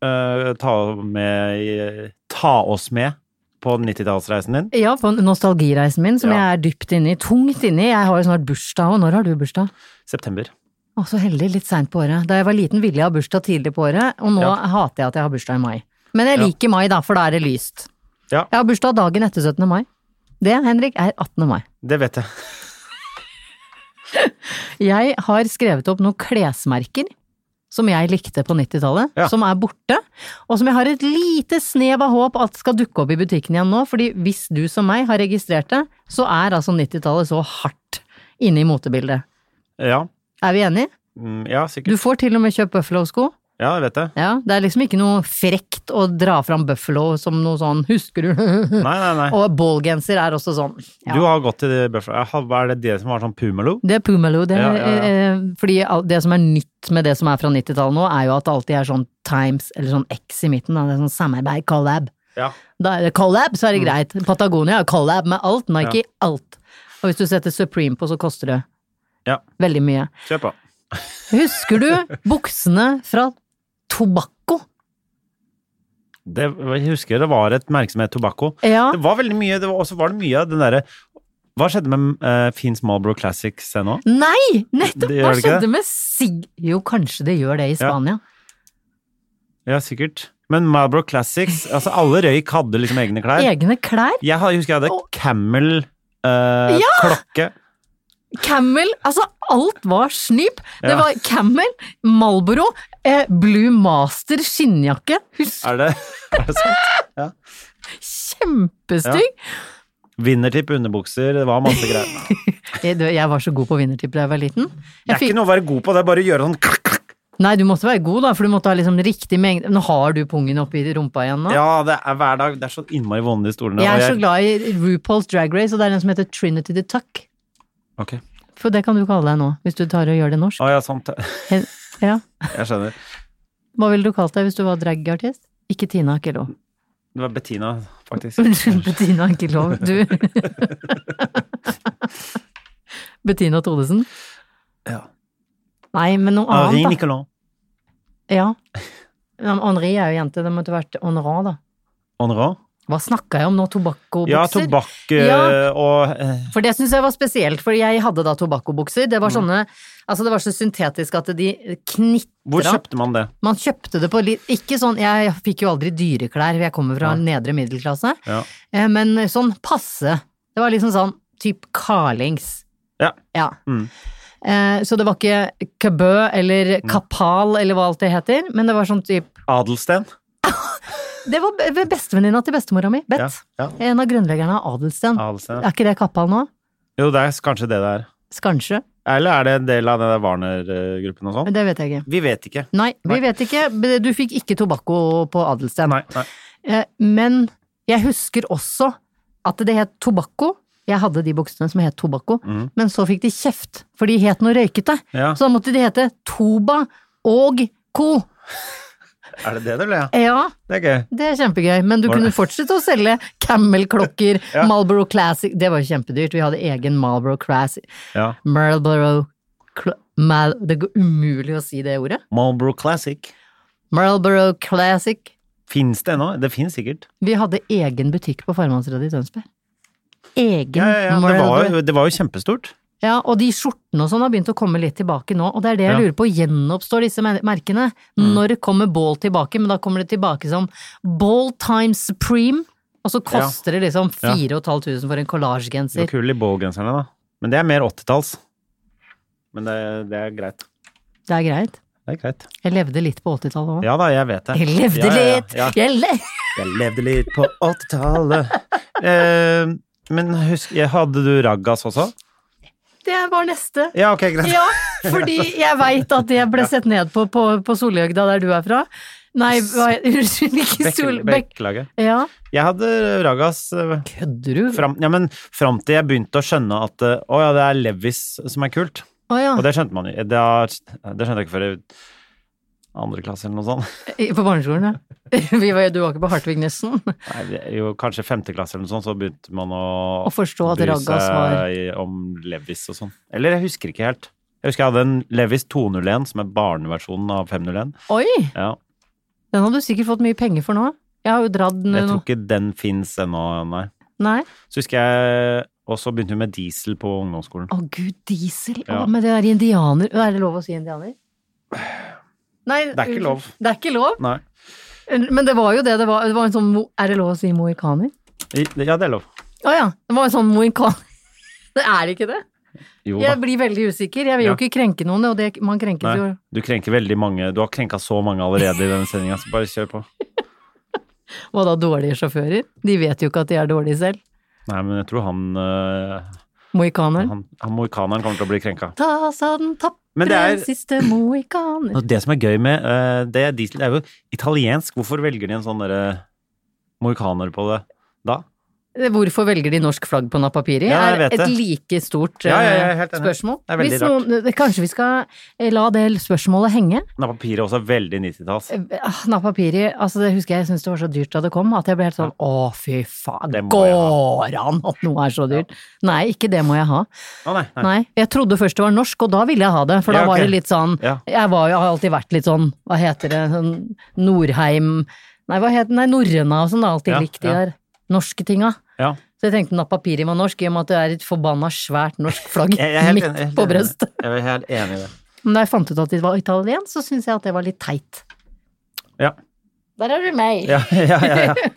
Speaker 2: eh, ta, med, i- ta oss med på 90-tallsreisen din?
Speaker 1: Ja, på nostalgireisen min, som
Speaker 2: Ja.
Speaker 1: jeg er dypt inne i. Tungt inne i. Jeg har jo snart bursdag, og når har du bursdag?
Speaker 2: September.
Speaker 1: Å, så heldig. Litt seint på året. Da jeg var liten ville jeg ha bursdag tidlig på året, og nå
Speaker 2: Ja.
Speaker 1: hater jeg at jeg har bursdag i mai. Men jeg
Speaker 2: Ja.
Speaker 1: liker mai, da, for da er det lyst.
Speaker 2: Ja.
Speaker 1: Jeg har bursdag dagen etter 17. mai. Det, Henrik, er 18. mai.
Speaker 2: Det vet jeg.
Speaker 1: Jeg har skrevet opp noen klesmerker som jeg likte på 90-tallet,
Speaker 2: Ja.
Speaker 1: som er borte, og som jeg har et lite snev av håp at skal dukke opp i butikken igjen nå, fordi hvis du som meg har registrert det, så er altså 90-tallet så hardt inne i motebildet.
Speaker 2: Ja,
Speaker 1: Er vi enige?
Speaker 2: Mm, ja sikkert.
Speaker 1: Du får til og med kjøpt Buffalo-sko.
Speaker 2: Ja, jeg vet det.
Speaker 1: Ja, det er liksom ikke noe frekt å dra fram Buffalo som noe sånn, husker du?
Speaker 2: Nei, nei, nei.
Speaker 1: og ballgenser er også sånn. Ja.
Speaker 2: Du har gått til det Buffalo. Jeg har- Hva er det det som var sånn pumelo?
Speaker 1: Det er Pumelo. Det,
Speaker 2: Ja, ja, ja.
Speaker 1: Eh, fordi al- det som er nytt med det som er fra 90-tallet nå, er jo at det alltid er sånn Times, eller sånn X i midten. Da. Det er sånn samarbeid, collab.
Speaker 2: Ja.
Speaker 1: Da er det collab,
Speaker 2: Mm.
Speaker 1: så er det greit. Patagonia er collab med alt, Nike alt. Og hvis du setter Supreme på, så koster det
Speaker 2: Ja.
Speaker 1: veldig mye.
Speaker 2: Kjør på.
Speaker 1: Husker du buksene fra Tobacco?
Speaker 2: Det, jeg husker det var et merke som het Tobacco.
Speaker 1: Ja.
Speaker 2: Det var veldig mye, det var, også var det mye av den derre Hva skjedde med uh, Fins Marlboro Classics ennå?
Speaker 1: Nei! Nettopp!
Speaker 2: Det gjør
Speaker 1: Hva
Speaker 2: det ikke det?
Speaker 1: skjedde med Sig... Jo, kanskje det gjør det i
Speaker 2: Ja.
Speaker 1: Spania.
Speaker 2: Ja, sikkert. Men Marlboro Classics altså Alle røyk hadde liksom egne klær.
Speaker 1: Egne klær?
Speaker 2: Jeg har- husker jeg hadde eh,
Speaker 1: Og-
Speaker 2: Camel-klokke.
Speaker 1: Camel, altså alt var snyp. Det
Speaker 2: Ja.
Speaker 1: var Camel, Malboro, eh, Blue Master skinnjakke. Husk,
Speaker 2: er, det, er det sant?
Speaker 1: kjempestygg!
Speaker 2: Vinnertipp, underbukser, det var masse greier.
Speaker 1: Jeg, Eh, du, jeg var så god på vinnertipp da jeg var liten.
Speaker 2: Det
Speaker 1: Jeg
Speaker 2: er ikke
Speaker 1: fikk,
Speaker 2: noe å være god på, det er bare å gjøre sånn klakk, klakk.
Speaker 1: nei, du måtte være god, da, for du måtte ha liksom riktig mengde Nå har du pungen oppi rumpa igjen nå.
Speaker 2: Ja, det er hver dag. Det er så innmari vonde i stolene.
Speaker 1: jeg
Speaker 2: og
Speaker 1: er så glad i RuPaul's Drag Race, og det er en som heter Trinity the Tuck.
Speaker 2: Ok.
Speaker 1: For det kan du kalle deg nå, hvis du tar og gjør det norsk.
Speaker 2: Å ja, sant.
Speaker 1: Hen- Ja.
Speaker 2: Jeg skjønner.
Speaker 1: Hva ville du kalt deg hvis du var dragartist? Ikke Tina Akilov.
Speaker 2: Det var Bettina, faktisk.
Speaker 1: Unnskyld, Bettina Akilov. Du Bettina Thodesen?
Speaker 2: Ja. Ah,
Speaker 1: Nei, men noe
Speaker 2: Henri
Speaker 1: annet,
Speaker 2: Nicolas.
Speaker 1: da. Ja. Men Henri er jo jente, det måtte vært Honorat, da.
Speaker 2: Honorat.
Speaker 1: Hva snakka jeg om nå? Tobakkobukser?
Speaker 2: Ja, tobakk eh,
Speaker 1: Ja.
Speaker 2: og eh,
Speaker 1: For det syns jeg var spesielt, for jeg hadde da tobakkobukser. Det var
Speaker 2: Mm.
Speaker 1: sånne Altså, det var så syntetisk at de
Speaker 2: Hvor
Speaker 1: knitra.
Speaker 2: kjøpte man det?
Speaker 1: Man kjøpte det på litt Ikke sånn Jeg fikk jo aldri dyreklær, jeg kommer fra nedre middelklasse.
Speaker 2: Ja.
Speaker 1: Eh, Men sånn passe. Det var liksom sånn typ Carlings.
Speaker 2: Ja.
Speaker 1: Ja.
Speaker 2: Mm.
Speaker 1: Eh, Så det var ikke Kabø eller Kapal eller hva alt det heter, men det var sånn typ
Speaker 2: Adelsten?
Speaker 1: Det var be- bestevenninna til bestemora mi,
Speaker 2: Ja,
Speaker 1: Bett.
Speaker 2: ja.
Speaker 1: En av grunnleggerne av Adelsten.
Speaker 2: Adelsten.
Speaker 1: Er ikke det Kapal nå?
Speaker 2: Jo, det er kanskje det det er.
Speaker 1: Kanskje.
Speaker 2: Eller er det en del av den der Warner-gruppen og sånn?
Speaker 1: Men Det vet jeg ikke.
Speaker 2: Vi vet ikke.
Speaker 1: Nei, vi
Speaker 2: Nei.
Speaker 1: vet ikke. Du fikk ikke tobakko på Adelsten.
Speaker 2: Nei, nei.
Speaker 1: Eh, Men jeg husker også at det het tobakko. Jeg hadde de buksene som het tobakko, men så fikk de kjeft, for de het noe røykete.
Speaker 2: Mhm. Ja.
Speaker 1: Så da måtte de hete Toba og co.
Speaker 2: Er det det det ble? ja?
Speaker 1: Ja,
Speaker 2: Det er gøy.
Speaker 1: det er kjempegøy, men du
Speaker 2: Var
Speaker 1: kunne
Speaker 2: det-
Speaker 1: fortsette å selge Camel-klokker,
Speaker 2: Ja.
Speaker 1: Marlboro Classic Det var jo kjempedyrt, vi hadde egen Marlboro Classic
Speaker 2: Ja.
Speaker 1: Marlboro Cl- Mal, Det går umulig å si det ordet.
Speaker 2: Marlboro Classic.
Speaker 1: Marlboro Classic.
Speaker 2: Fins det ennå? Det fins sikkert.
Speaker 1: Vi hadde egen butikk på Farmannsredet i Tønsberg. Egen
Speaker 2: Ja, ja, ja. Det, var
Speaker 1: Marlboro.
Speaker 2: jo, det var jo kjempestort.
Speaker 1: Ja, og de skjortene og sånn har begynt å komme litt tilbake nå, og det er det jeg
Speaker 2: Ja. Mm.
Speaker 1: lurer på, gjenoppstår disse mer- merkene? Når kommer Ball tilbake? Men da kommer det tilbake som Ball Time Supreme, og så koster det liksom
Speaker 2: Ja.
Speaker 1: 4500 for en
Speaker 2: Det var
Speaker 1: kollasjgenser.
Speaker 2: kul i ballgenserne, da. Men det er mer 80-talls. Men det, det er greit.
Speaker 1: Det er greit.
Speaker 2: Det er greit.
Speaker 1: Jeg levde litt på 80-tallet òg.
Speaker 2: Ja da, jeg vet det.
Speaker 1: Jeg levde
Speaker 2: ja, ja,
Speaker 1: litt!
Speaker 2: ja, ja.
Speaker 1: Jeg le
Speaker 2: Jeg levde litt på 80-tallet. eh, men husk, hadde du raggas også?
Speaker 1: det var neste.
Speaker 2: Ja, ok, greit.
Speaker 1: Ja, fordi jeg veit at jeg ble sett ned på på, på Solhjøgda, der du er fra. Nei, hva, unnskyld, ikke
Speaker 2: Bekkel-
Speaker 1: Sol... Bekk...
Speaker 2: Bekkelaget.
Speaker 1: Ja.
Speaker 2: Jeg hadde raggas eh,
Speaker 1: Kødder du?
Speaker 2: fram, ja, men fram til jeg begynte å skjønne at eh, å ja, det er Levis som er kult.
Speaker 1: Å ja.
Speaker 2: Og det skjønte man jo. Det, har- det skjønte jeg ikke før i andre klasse eller noe sånt.
Speaker 1: I- På barneskolen, ja. Vi var, du var ikke på Hartvig Nessen.
Speaker 2: Nei, det er jo kanskje femteklasse eller noe sånt, så begynte man å,
Speaker 1: Å forstå at
Speaker 2: bry
Speaker 1: raggas
Speaker 2: seg
Speaker 1: var-
Speaker 2: i- om Levis og sånn. Eller jeg husker ikke helt. Jeg husker jeg hadde en Levis 201, som er barneversjonen av 501.
Speaker 1: Oi!
Speaker 2: Ja,
Speaker 1: Den hadde du sikkert fått mye penger for nå. Jeg har jo dratt den
Speaker 2: jeg tror
Speaker 1: nå.
Speaker 2: ikke den fins ennå, nei.
Speaker 1: Nei.
Speaker 2: Så husker jeg Og så begynte vi med diesel på ungdomsskolen.
Speaker 1: Å gud, diesel. Å,
Speaker 2: Ja.
Speaker 1: men det er indianer. Er det lov å si indianer? Nei,
Speaker 2: Det er ikke lov.
Speaker 1: Det er ikke lov.
Speaker 2: Nei.
Speaker 1: Men det var jo det det var. Det var en sånn, mo- er det lov å si mohikaner?
Speaker 2: I- Ja, det er lov.
Speaker 1: Å ja. Det var en sånn mohikaner. Det er ikke det?
Speaker 2: Jo da.
Speaker 1: Jeg blir veldig usikker. Jeg vil
Speaker 2: Ja.
Speaker 1: jo ikke krenke noen, og det, man krenkes
Speaker 2: Nei,
Speaker 1: jo
Speaker 2: du krenker veldig mange. Du har krenka så mange allerede i denne sendinga, så bare kjør på.
Speaker 1: Hva da, dårlige sjåfører? De vet jo ikke at de er dårlige selv.
Speaker 2: Nei, men jeg tror han øh,
Speaker 1: Mohikaneren.
Speaker 2: Han, han mohikaneren kommer til å bli krenka.
Speaker 1: Ta sa den
Speaker 2: Men
Speaker 1: tapre
Speaker 2: det er-
Speaker 1: siste mohikaner.
Speaker 2: Og det som er gøy med eh, det, er diesel, det er jo italiensk. Hvorfor velger de en sånn derre mohikaner på det da?
Speaker 1: Hvorfor velger de norsk flagg på napapiret?
Speaker 2: Ja, jeg
Speaker 1: er
Speaker 2: vet
Speaker 1: et
Speaker 2: det.
Speaker 1: like stort
Speaker 2: Ja, ja, jeg er
Speaker 1: eh,
Speaker 2: helt enig.
Speaker 1: spørsmål.
Speaker 2: Det er veldig
Speaker 1: Hvis noen, kanskje vi skal eh, la det spørsmålet henge?
Speaker 2: Nei, papiret også er veldig 90-talls.
Speaker 1: Ah, Napapiri, altså det husker jeg, jeg syntes det var så dyrt da det kom, at jeg ble helt sånn å fy faen,
Speaker 2: Det må jeg
Speaker 1: går an at noe er så dyrt? Nei, ikke det må jeg ha.
Speaker 2: Å nei, nei.
Speaker 1: Nei, jeg trodde først det var norsk, og da ville jeg ha det, for da
Speaker 2: Ja, ok.
Speaker 1: var det litt sånn,
Speaker 2: Ja.
Speaker 1: jeg var jo har alltid vært litt sånn, hva heter det, sånn Nordheim, nei, hva heter den, nei, Norrøna og sånn, da, alltid
Speaker 2: Ja,
Speaker 1: likt de
Speaker 2: ja.
Speaker 1: der norske tinga.
Speaker 2: Ja.
Speaker 1: Så jeg tenkte Napapiri var norsk, i og med at det er et forbanna svært norsk flagg
Speaker 2: Jeg- jeg er helt
Speaker 1: midt
Speaker 2: enig- helt
Speaker 1: på
Speaker 2: enig i det.
Speaker 1: brøstet.
Speaker 2: Jeg er helt enig i det.
Speaker 1: Men da jeg fant ut at det var italiensk, så syntes jeg at det var litt teit.
Speaker 2: Ja.
Speaker 1: Der er du meg.
Speaker 2: Ja, ja, ja, ja.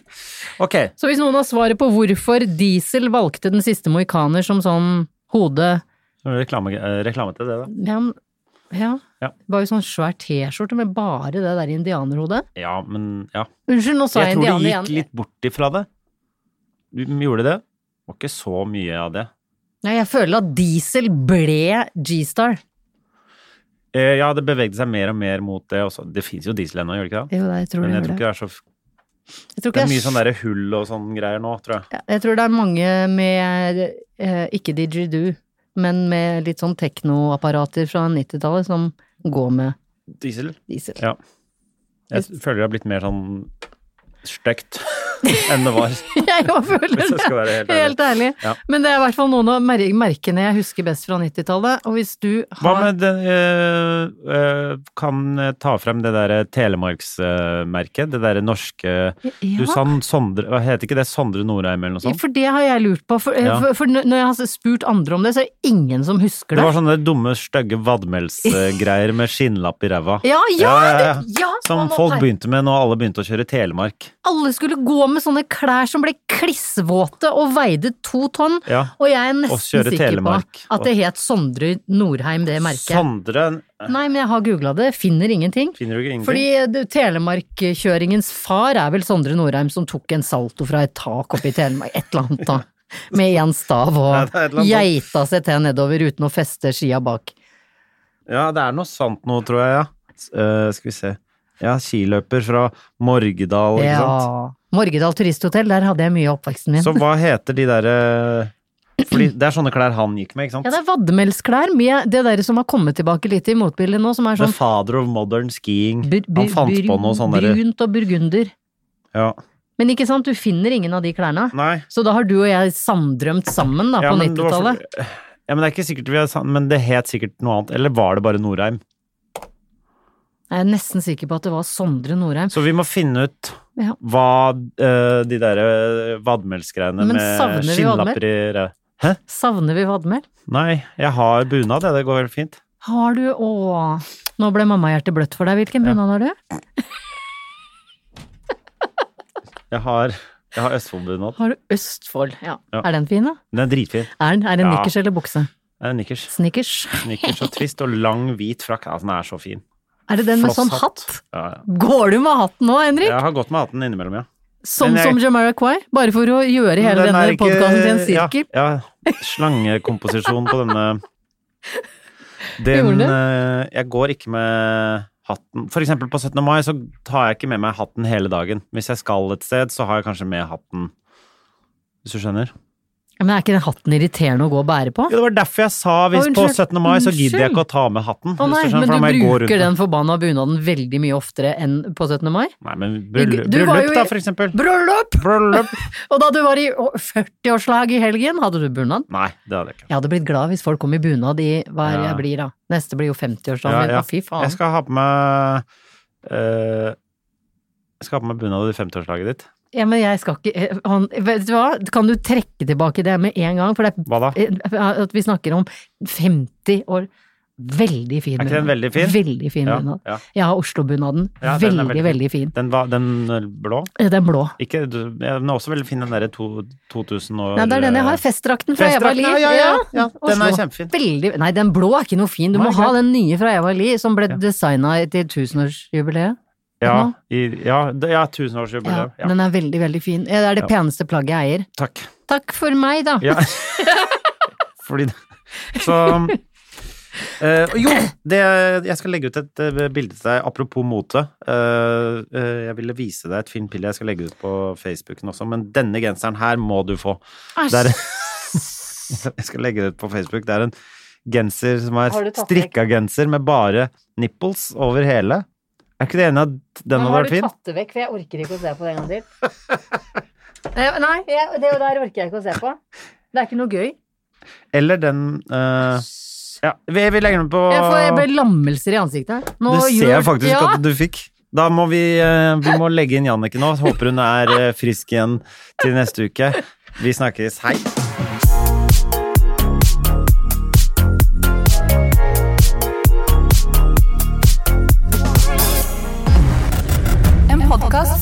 Speaker 2: Ok.
Speaker 1: Så hvis noen har svaret på hvorfor Diesel valgte den siste mohikaner som sånn hode
Speaker 2: så er det Reklame, eh, reklame til det, da.
Speaker 1: Ja, men- ja.
Speaker 2: Ja.
Speaker 1: Det var jo sånn svær T-skjorte med bare det der indianerhodet.
Speaker 2: Ja, men ja.
Speaker 1: Unnskyld, nå sa jeg,
Speaker 2: Jeg tror
Speaker 1: indianer
Speaker 2: de
Speaker 1: igjen.
Speaker 2: gikk litt bort ifra det. Du gjorde det? Det var ikke så mye av det.
Speaker 1: Nei, jeg føler at Diesel ble G-Star.
Speaker 2: Eh, Ja, det bevegde seg mer og mer mot det også. Det fins jo diesel ennå, gjør det ikke det?
Speaker 1: Jo, det, jeg tror
Speaker 2: Men
Speaker 1: det
Speaker 2: jeg tror
Speaker 1: gjorde
Speaker 2: ikke det er så
Speaker 1: Jeg tror
Speaker 2: Det
Speaker 1: ikke
Speaker 2: er
Speaker 1: det
Speaker 2: mye
Speaker 1: er
Speaker 2: sånn derre hull og sånn greier nå, tror jeg.
Speaker 1: Ja, Jeg tror det er mange med eh, ikke didgeridoo, men med litt sånn teknoapparater fra 90-tallet som går med
Speaker 2: Diesel?
Speaker 1: diesel.
Speaker 2: Ja. Jeg føler det har blitt mer sånn stygt enn det var.
Speaker 1: Jeg jo føler det.
Speaker 2: Hvis jeg skal være helt ærlig.
Speaker 1: Helt ærlig.
Speaker 2: Ja.
Speaker 1: Men det er i hvert fall noen av mer- merkene jeg husker best fra 90-tallet. Og hvis du
Speaker 2: Hva
Speaker 1: har
Speaker 2: med den eh, eh, Kan jeg ta frem det derre Telemarksmerket? Det derre norske Du sa Sondre hva Heter ikke det Sondre Norheim eller noe sånt?
Speaker 1: For det har jeg lurt på. For,
Speaker 2: Sånn.
Speaker 1: eh,
Speaker 2: Ja.
Speaker 1: for, for når jeg har spurt andre om det, så er det ingen som husker
Speaker 2: Det
Speaker 1: det.
Speaker 2: var sånn. sånne dumme, stygge vadmelsgreier med skinnlapp i ræva.
Speaker 1: Ja, ja!
Speaker 2: Ja, ja,
Speaker 1: det-
Speaker 2: ja.
Speaker 1: ja
Speaker 2: Som
Speaker 1: og nå-
Speaker 2: folk begynte med når alle begynte å kjøre Telemark.
Speaker 1: Alle skulle gå med sånne klær som ble klissvåte og veide to tonn.
Speaker 2: Ja.
Speaker 1: Og jeg er
Speaker 2: Og
Speaker 1: nesten
Speaker 2: kjøre
Speaker 1: sikker
Speaker 2: Telemark.
Speaker 1: på at det het Sondre Norheim, det merket.
Speaker 2: Sondre
Speaker 1: Nei, men jeg har googla det, finner ingenting.
Speaker 2: Finner du ikke ingenting?
Speaker 1: Fordi du, telemarkkjøringens far er vel Sondre Norheim som tok en salto fra et tak oppe i Telemark, et eller annet da. Med én stav
Speaker 2: Ja, det
Speaker 1: og
Speaker 2: er et eller annet.
Speaker 1: geita seg til nedover uten å feste skia bak.
Speaker 2: Ja, det er noe sant nå, tror jeg, ja. S- eh, skal vi se. Ja, skiløper fra Morgedal, ikke sant?
Speaker 1: Ja. Morgedal turisthotell, der hadde jeg mye av oppveksten min.
Speaker 2: Så hva heter de derre Fordi det er sånne klær han gikk med, ikke sant?
Speaker 1: Ja, det er vadmelsklær med det der som har kommet tilbake litt i motbildet nå, som er
Speaker 2: The
Speaker 1: sånn
Speaker 2: father of modern skiing.
Speaker 1: bur- bur-
Speaker 2: Han fant på
Speaker 1: bur-
Speaker 2: noe sånn derre
Speaker 1: brunt og burgunder.
Speaker 2: ja.
Speaker 1: Men ikke sant, du finner ingen av de klærne.
Speaker 2: Nei.
Speaker 1: Så da har du og jeg samdrømt sammen da,
Speaker 2: Ja,
Speaker 1: på
Speaker 2: men det var for-
Speaker 1: 90-tallet.
Speaker 2: Ja, men det er ikke sikkert vi har sa- Men det het sikkert noe annet. Eller var det bare Norheim?
Speaker 1: Jeg er nesten sikker på at det var Sondre Norheim.
Speaker 2: Så vi må finne ut
Speaker 1: Ja.
Speaker 2: hva eh, de derre vadmelsgreiene
Speaker 1: Men
Speaker 2: med
Speaker 1: savner vi
Speaker 2: skinnlapper i ræ- Hæ?
Speaker 1: Savner vi vadmel?
Speaker 2: Nei, jeg har bunad, jeg. Det går veldig fint.
Speaker 1: Har du Å, nå ble mammahjertet bløtt for deg. Hvilken bunad har du?
Speaker 2: Jeg har, jeg har Østfold-bunad.
Speaker 1: Har du Østfold? Ja.
Speaker 2: Ja.
Speaker 1: Er den fin, da?
Speaker 2: Den er dritfin.
Speaker 1: Er den, er den
Speaker 2: Ja.
Speaker 1: nikkers eller bukse?
Speaker 2: Det er nikkers.
Speaker 1: Snickers.
Speaker 2: Nikkers og twist og lang, hvit frakk. Altså, den er så fin.
Speaker 1: Er det den med sånn hatt?
Speaker 2: Flosshatt. Ja, ja.
Speaker 1: Går du med hatten nå, Henrik?
Speaker 2: Jeg har gått med hatten innimellom, ja.
Speaker 1: Sånn
Speaker 2: Men jeg-
Speaker 1: som Jamiroquai? Bare for å gjøre hele
Speaker 2: Den
Speaker 1: denne
Speaker 2: er ikke-
Speaker 1: podkasten til en sirkel?
Speaker 2: Ja, ja. Slangekomposisjon på denne den,
Speaker 1: Gjorde du?
Speaker 2: eh, Jeg går ikke med hatten For eksempel på 17. mai så tar jeg ikke med meg hatten hele dagen. Hvis jeg skal et sted, så har jeg kanskje med hatten. Hvis du skjønner?
Speaker 1: Men er ikke den hatten irriterende å gå og bære på?
Speaker 2: Jo, det var derfor jeg sa hvis
Speaker 1: Å,
Speaker 2: på
Speaker 1: unnskyld.
Speaker 2: 17. mai så gidder jeg
Speaker 1: Unnskyld.
Speaker 2: ikke å ta med hatten.
Speaker 1: Å nei,
Speaker 2: hvis
Speaker 1: men
Speaker 2: skjønner, for da må
Speaker 1: du
Speaker 2: jeg gå rundt
Speaker 1: bruker
Speaker 2: med-
Speaker 1: den forbanna bunaden veldig mye oftere enn på 17. mai.
Speaker 2: Nei, men bryllup,
Speaker 1: Du var jo
Speaker 2: bryllup
Speaker 1: i-
Speaker 2: da, for eksempel.
Speaker 1: Bryllup!
Speaker 2: Bryllup!
Speaker 1: Og da du var i å- 40-årslag i helgen, hadde du bunad?
Speaker 2: Nei, det hadde jeg ikke.
Speaker 1: Jeg hadde blitt glad hvis folk kom i bunad i hva er det
Speaker 2: Ja.
Speaker 1: jeg blir da. Neste blir jo 50-årsdagen
Speaker 2: Ja,
Speaker 1: min.
Speaker 2: ja.
Speaker 1: Å, Fy faen.
Speaker 2: Jeg skal ha på meg eh, Jeg skal ha på meg bunad i 50-årslaget ditt.
Speaker 1: Ja, men jeg skal ikke eh, han, Vet du hva, kan du trekke tilbake det med en gang? For det
Speaker 2: Hva da?
Speaker 1: er eh, at vi snakker om 50 år Veldig fin
Speaker 2: Er ikke den
Speaker 1: bunad.
Speaker 2: veldig fin?
Speaker 1: Veldig fin
Speaker 2: Ja,
Speaker 1: bunad.
Speaker 2: ja.
Speaker 1: Jeg har Oslo-bunaden.
Speaker 2: Ja, den
Speaker 1: veldig,
Speaker 2: er
Speaker 1: veldig,
Speaker 2: veldig
Speaker 1: fin.
Speaker 2: Den, var, den eh, blå?
Speaker 1: Eh, Den blå.
Speaker 2: Ikke, du- ja, den er også veldig fin, den derre to- 2000 år
Speaker 1: Nei, det er den jeg har. Festdrakten fra Eva
Speaker 2: Festdrakten,
Speaker 1: Li.
Speaker 2: ja, ja, ja. Ja, den er
Speaker 1: Oslo.
Speaker 2: kjempefin.
Speaker 1: Veldig, nei, den blå er ikke noe fin. Du
Speaker 2: Nei,
Speaker 1: må ha
Speaker 2: greit.
Speaker 1: den nye fra Eva Li, som ble designa til tusenårsjubileet.
Speaker 2: Ja, i, ja, det- ja tusenårsjubileum.
Speaker 1: Ja,
Speaker 2: Ja,
Speaker 1: Den er veldig, veldig fin. Eh, Det er det peneste plagget jeg eier.
Speaker 2: takk.
Speaker 1: Takk for meg, da.
Speaker 2: Ja. Fordi Så eh, Jo, det, jeg skal legge ut et eh, bilde til deg apropos mote. Eh, eh, jeg ville vise deg et fint bilde jeg skal legge ut på Facebooken også, men denne genseren her må du få. Det er, jeg skal legge det ut på Facebook. Det er en genser som er
Speaker 1: Har du tatt vekk-
Speaker 2: strikka genser med bare nipples over hele. Er ikke du enig at den hadde vært fin?
Speaker 1: det vekk, for jeg orker ikke å se på det en gang til. Eh, Nei, jeg, det der orker jeg ikke å se på. Det er ikke noe gøy.
Speaker 2: Eller den eh, Ja, vi, vi legger den på
Speaker 1: Jeg, får, jeg ble lammelser i ansiktet. her. Nå
Speaker 2: Du ser
Speaker 1: gjør-
Speaker 2: jeg faktisk
Speaker 1: ja.
Speaker 2: at du fikk. Da må vi, eh, vi må legge inn Jannicke nå. Håper hun er eh, frisk igjen til neste uke. Vi snakkes. Hei!
Speaker 5: En podkast